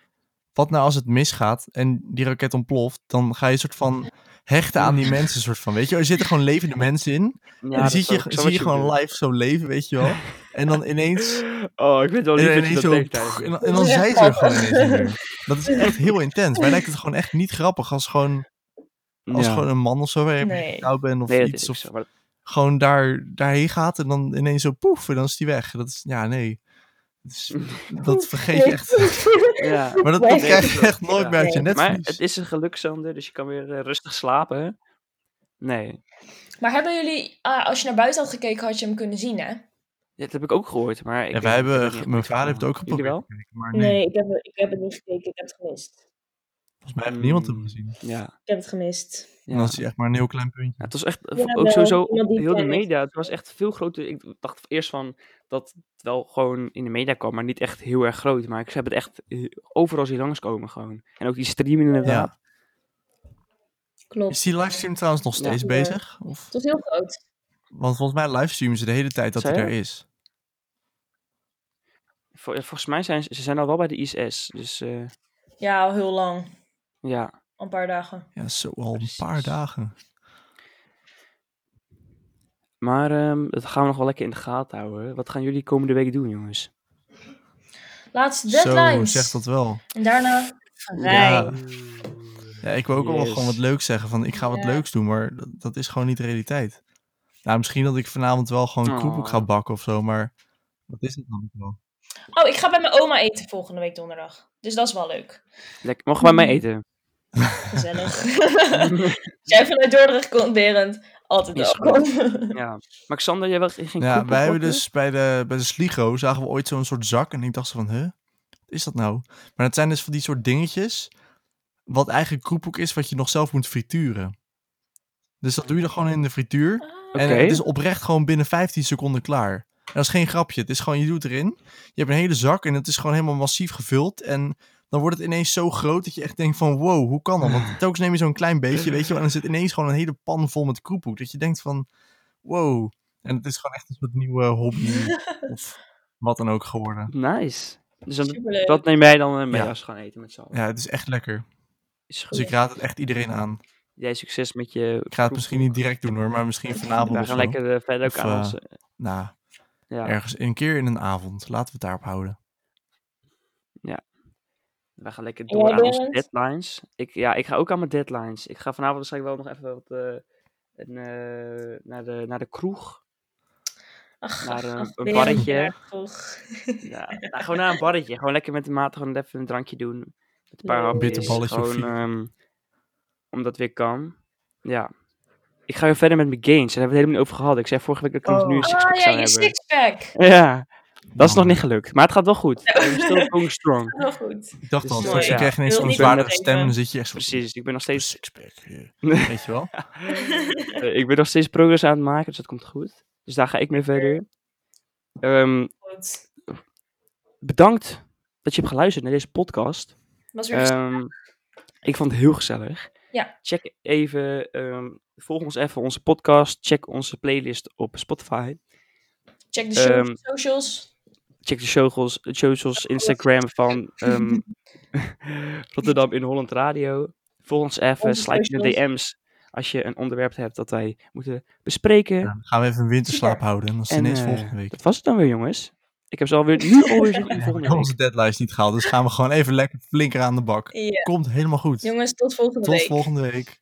Speaker 1: wat nou als het misgaat en die raket ontploft? Dan ga je soort van hechten aan die mensen, soort van, weet je? wel. Er zitten gewoon levende mensen in.
Speaker 2: ja,
Speaker 1: en dan
Speaker 2: dat
Speaker 1: zie
Speaker 2: is wel-
Speaker 1: je,
Speaker 2: ik snap
Speaker 1: zie je
Speaker 2: wat
Speaker 1: gewoon
Speaker 2: bedoelt.
Speaker 1: live zo leven, weet je wel? En dan ineens...
Speaker 2: Oh, ik vind het wel
Speaker 1: En,
Speaker 2: lief dat je
Speaker 1: ineens
Speaker 2: dat
Speaker 1: zo,
Speaker 2: denkt.
Speaker 1: pff,
Speaker 2: eigenlijk.
Speaker 1: en, dan- en dan
Speaker 3: Dat is echt
Speaker 1: zijn ze er gewoon
Speaker 3: grappig.
Speaker 1: ineens niet meer. Dat is echt heel intens. Mij lijkt het gewoon echt niet grappig als gewoon, als
Speaker 2: Ja.
Speaker 1: gewoon een man of zo, waar je
Speaker 3: Nee.
Speaker 1: mee getrouwd bent of
Speaker 2: Nee, dat is
Speaker 1: iets.
Speaker 2: ook
Speaker 1: Of
Speaker 2: zo, maar
Speaker 1: gewoon daar, daarheen gaat en dan ineens zo poef en dan is die weg. Dat is, ja, nee. Dat, is- dat vergeet je echt.
Speaker 2: dat- ja.
Speaker 1: Maar dat,
Speaker 3: Nee,
Speaker 1: dat
Speaker 3: nee,
Speaker 1: krijg
Speaker 2: dat
Speaker 1: je
Speaker 2: is
Speaker 1: echt
Speaker 2: ook-
Speaker 1: nooit
Speaker 2: ja.
Speaker 1: meer uit je
Speaker 3: Nee,
Speaker 2: Maar
Speaker 1: netvlies.
Speaker 2: het is een gelukszander, dus je kan weer eh, rustig slapen. Nee,
Speaker 3: Maar hebben jullie, ah, als je naar buiten had gekeken, had je hem kunnen zien, hè?
Speaker 2: dat heb ik ook gehoord, maar...
Speaker 1: Ja,
Speaker 2: Ik weet-
Speaker 1: wij
Speaker 2: ik heb
Speaker 1: hebben,
Speaker 2: niet echt
Speaker 1: mijn
Speaker 2: goed
Speaker 1: vader heeft het ook
Speaker 2: Jullie
Speaker 1: geprobeerd.
Speaker 2: wel?
Speaker 1: te kijken, Maar nee,
Speaker 3: ik heb, ik heb het niet gekeken. Ik heb het gemist.
Speaker 1: volgens mij heeft niemand hem
Speaker 2: Mm.
Speaker 1: gezien.
Speaker 2: Ja.
Speaker 3: Ik heb het gemist.
Speaker 1: En
Speaker 2: ja.
Speaker 1: dan is hij echt maar een heel klein puntje.
Speaker 2: Ja, het was echt eh, v-
Speaker 3: Ja,
Speaker 2: ook
Speaker 3: wel,
Speaker 2: sowieso
Speaker 3: iemand die
Speaker 2: heel de
Speaker 3: ken ik.
Speaker 2: media. Het was echt veel groter. Ik dacht eerst van dat het wel gewoon in de media kwam, maar niet echt heel erg groot. Maar ik heb het echt eh, overal zien langskomen gewoon. En ook die streaming inderdaad.
Speaker 1: Ja.
Speaker 3: Klopt.
Speaker 1: Is die livestream trouwens nog
Speaker 2: Ja.
Speaker 1: steeds
Speaker 3: Ja.
Speaker 1: bezig? Of?
Speaker 3: Het was heel groot.
Speaker 1: Want volgens mij livestreamen ze de hele tijd dat
Speaker 2: Zei
Speaker 1: hij
Speaker 2: je?
Speaker 1: er is.
Speaker 2: Vol- volgens mij zijn ze ze zijn al wel bij de ISS. Dus eh,
Speaker 3: Ja, al heel lang.
Speaker 2: ja.
Speaker 3: Al Een paar dagen.
Speaker 1: Ja, zo al een
Speaker 2: Precies.
Speaker 1: paar dagen.
Speaker 2: Maar ehm, dat gaan we nog wel lekker in de gaten houden. Wat gaan jullie komende week doen, jongens?
Speaker 3: Laatste deadlines.
Speaker 1: Zo, zegt dat wel.
Speaker 3: En daarna vrij.
Speaker 1: Ja. Ja, ik wil ook wel
Speaker 2: Yes.
Speaker 1: gewoon wat leuks zeggen. Van ik ga wat
Speaker 3: Ja.
Speaker 1: leuks doen, maar dat, dat is gewoon niet de realiteit. Nou, misschien dat ik vanavond wel gewoon
Speaker 2: Oh.
Speaker 1: kroephoek ga bakken of zo, maar dat is het dan niet wel.
Speaker 3: Oh, ik ga bij mijn oma eten volgende week donderdag. Dus dat is wel leuk.
Speaker 2: Lekker. Mogen wij mij
Speaker 3: Hmm.
Speaker 2: eten?
Speaker 3: Gezellig. Als jij vanuit Dordrecht komt, Berend, altijd
Speaker 2: Is
Speaker 3: welkom.
Speaker 2: ja. Maar Xander, jij wel geen
Speaker 1: Ja,
Speaker 2: kroephoek
Speaker 1: wij hebben
Speaker 2: bakken?
Speaker 1: dus bij de, bij de Sligo zagen we ooit zo'n soort zak. En ik dacht zo van, huh? Wat is dat nou? Maar dat zijn dus van die soort dingetjes. Wat eigenlijk kroephoek is, wat je nog zelf moet frituren. Dus dat doe je dan gewoon in de frituur.
Speaker 3: Ah,
Speaker 1: En
Speaker 2: Oké.
Speaker 1: het is oprecht gewoon binnen 15 seconden klaar. En dat is geen grapje. Het is gewoon, je doet erin. Je hebt een hele zak en het is gewoon helemaal massief gevuld. En dan wordt het ineens zo groot dat je echt denkt van wow, hoe kan dat? Want telkens neem je zo'n klein beetje, weet je wel. En dan zit ineens gewoon een hele pan vol met kroephoek. Dat je denkt van wow. En het is gewoon echt een soort nieuwe hobby of wat dan ook geworden.
Speaker 2: Nice. Dus dan-
Speaker 3: Superleuk.
Speaker 2: dat neem jij dan eh, mee
Speaker 1: Ja.
Speaker 2: als we gaan eten met z'n allen.
Speaker 1: Ja, het is echt lekker.
Speaker 2: Is goed.
Speaker 1: Dus ik raad het echt iedereen aan.
Speaker 2: Jij succes met je.
Speaker 1: Ik ga het misschien niet direct doen hoor, maar misschien vanavond
Speaker 2: We
Speaker 1: of
Speaker 2: gaan
Speaker 1: zo.
Speaker 2: lekker eh, verder ook
Speaker 1: Of,
Speaker 2: aan
Speaker 1: eh,
Speaker 2: onze.
Speaker 1: Nou,
Speaker 2: Ja,
Speaker 1: ergens een keer in een avond. Laten we het daarop houden.
Speaker 2: we gaan lekker
Speaker 3: En
Speaker 2: door
Speaker 3: jij,
Speaker 2: aan onze
Speaker 3: Berend?
Speaker 2: deadlines. Ik, ja, ik ga ook aan mijn deadlines. Ik ga vanavond waarschijnlijk wel nog even wat, eh, een, eh, naar, de, naar de kroeg.
Speaker 3: Ach,
Speaker 2: Naar eh, een,
Speaker 3: Berend,
Speaker 2: barretje.
Speaker 3: ja, vroeg.
Speaker 2: Ja, nou, gewoon naar een barretje. Gewoon lekker met de maat gewoon even een drankje doen. Met een paar
Speaker 3: Leuk.
Speaker 2: hapjes.
Speaker 1: Bitterballetje of
Speaker 2: Gewoon,
Speaker 1: vier.
Speaker 2: ehm, omdat weer kan. Ja. Ik ga weer verder met mijn gains. Daar hebben we het helemaal niet over gehad. Ik zei vorige week dat ik
Speaker 1: Oh.
Speaker 2: nu een sixpack
Speaker 3: Ah ja,
Speaker 2: zou
Speaker 3: je
Speaker 2: hebben.
Speaker 3: sixpack.
Speaker 2: Ja, dat is nog niet gelukt. Maar het gaat wel goed. I'm still going strong.
Speaker 3: Heel goed.
Speaker 1: Ik dacht
Speaker 2: Dus
Speaker 1: al,
Speaker 2: het is
Speaker 1: straks
Speaker 2: mooi,
Speaker 1: krijg je ineens
Speaker 3: Wil
Speaker 1: zo'n
Speaker 3: niet
Speaker 1: zwaardere
Speaker 3: nadenken.
Speaker 1: stem en dan zit je echt zo...
Speaker 2: Precies, ik ben nog steeds, eh,
Speaker 1: Sixpack, eh, weet je wel?
Speaker 2: ik ben nog steeds progress aan het maken, dus dat komt goed. Dus daar ga ik mee verder. Ehm,
Speaker 3: goed.
Speaker 2: bedankt dat je hebt geluisterd naar deze podcast.
Speaker 3: Was weer gezellig.
Speaker 2: Ehm, ik vond het heel gezellig.
Speaker 3: Ja.
Speaker 2: Check even, ehm, volg ons even onze podcast. Check onze playlist op Spotify.
Speaker 3: Check de show
Speaker 2: ehm,
Speaker 3: socials.
Speaker 2: Check de socials, de socials Instagram van ehm, Rotterdam in Holland Radio. Volg ons even,
Speaker 3: Onze
Speaker 2: slijt in de
Speaker 3: socials.
Speaker 2: DM's als je een onderwerp hebt dat wij moeten bespreken.
Speaker 1: Ja, dan gaan we even een winterslaap houden en dan is het
Speaker 2: En,
Speaker 1: ineens
Speaker 2: eh,
Speaker 1: volgende week.
Speaker 2: Dat was het dan weer, jongens. Ik heb ze alweer nu alweer zin in
Speaker 1: We
Speaker 2: volgende
Speaker 1: hebben
Speaker 2: week.
Speaker 1: onze deadlines niet gehaald, dus gaan we gewoon even lekker flinker aan de bak.
Speaker 3: Ja.
Speaker 1: Komt helemaal goed.
Speaker 3: Jongens, tot volgende
Speaker 1: Tot
Speaker 3: week.
Speaker 1: volgende week.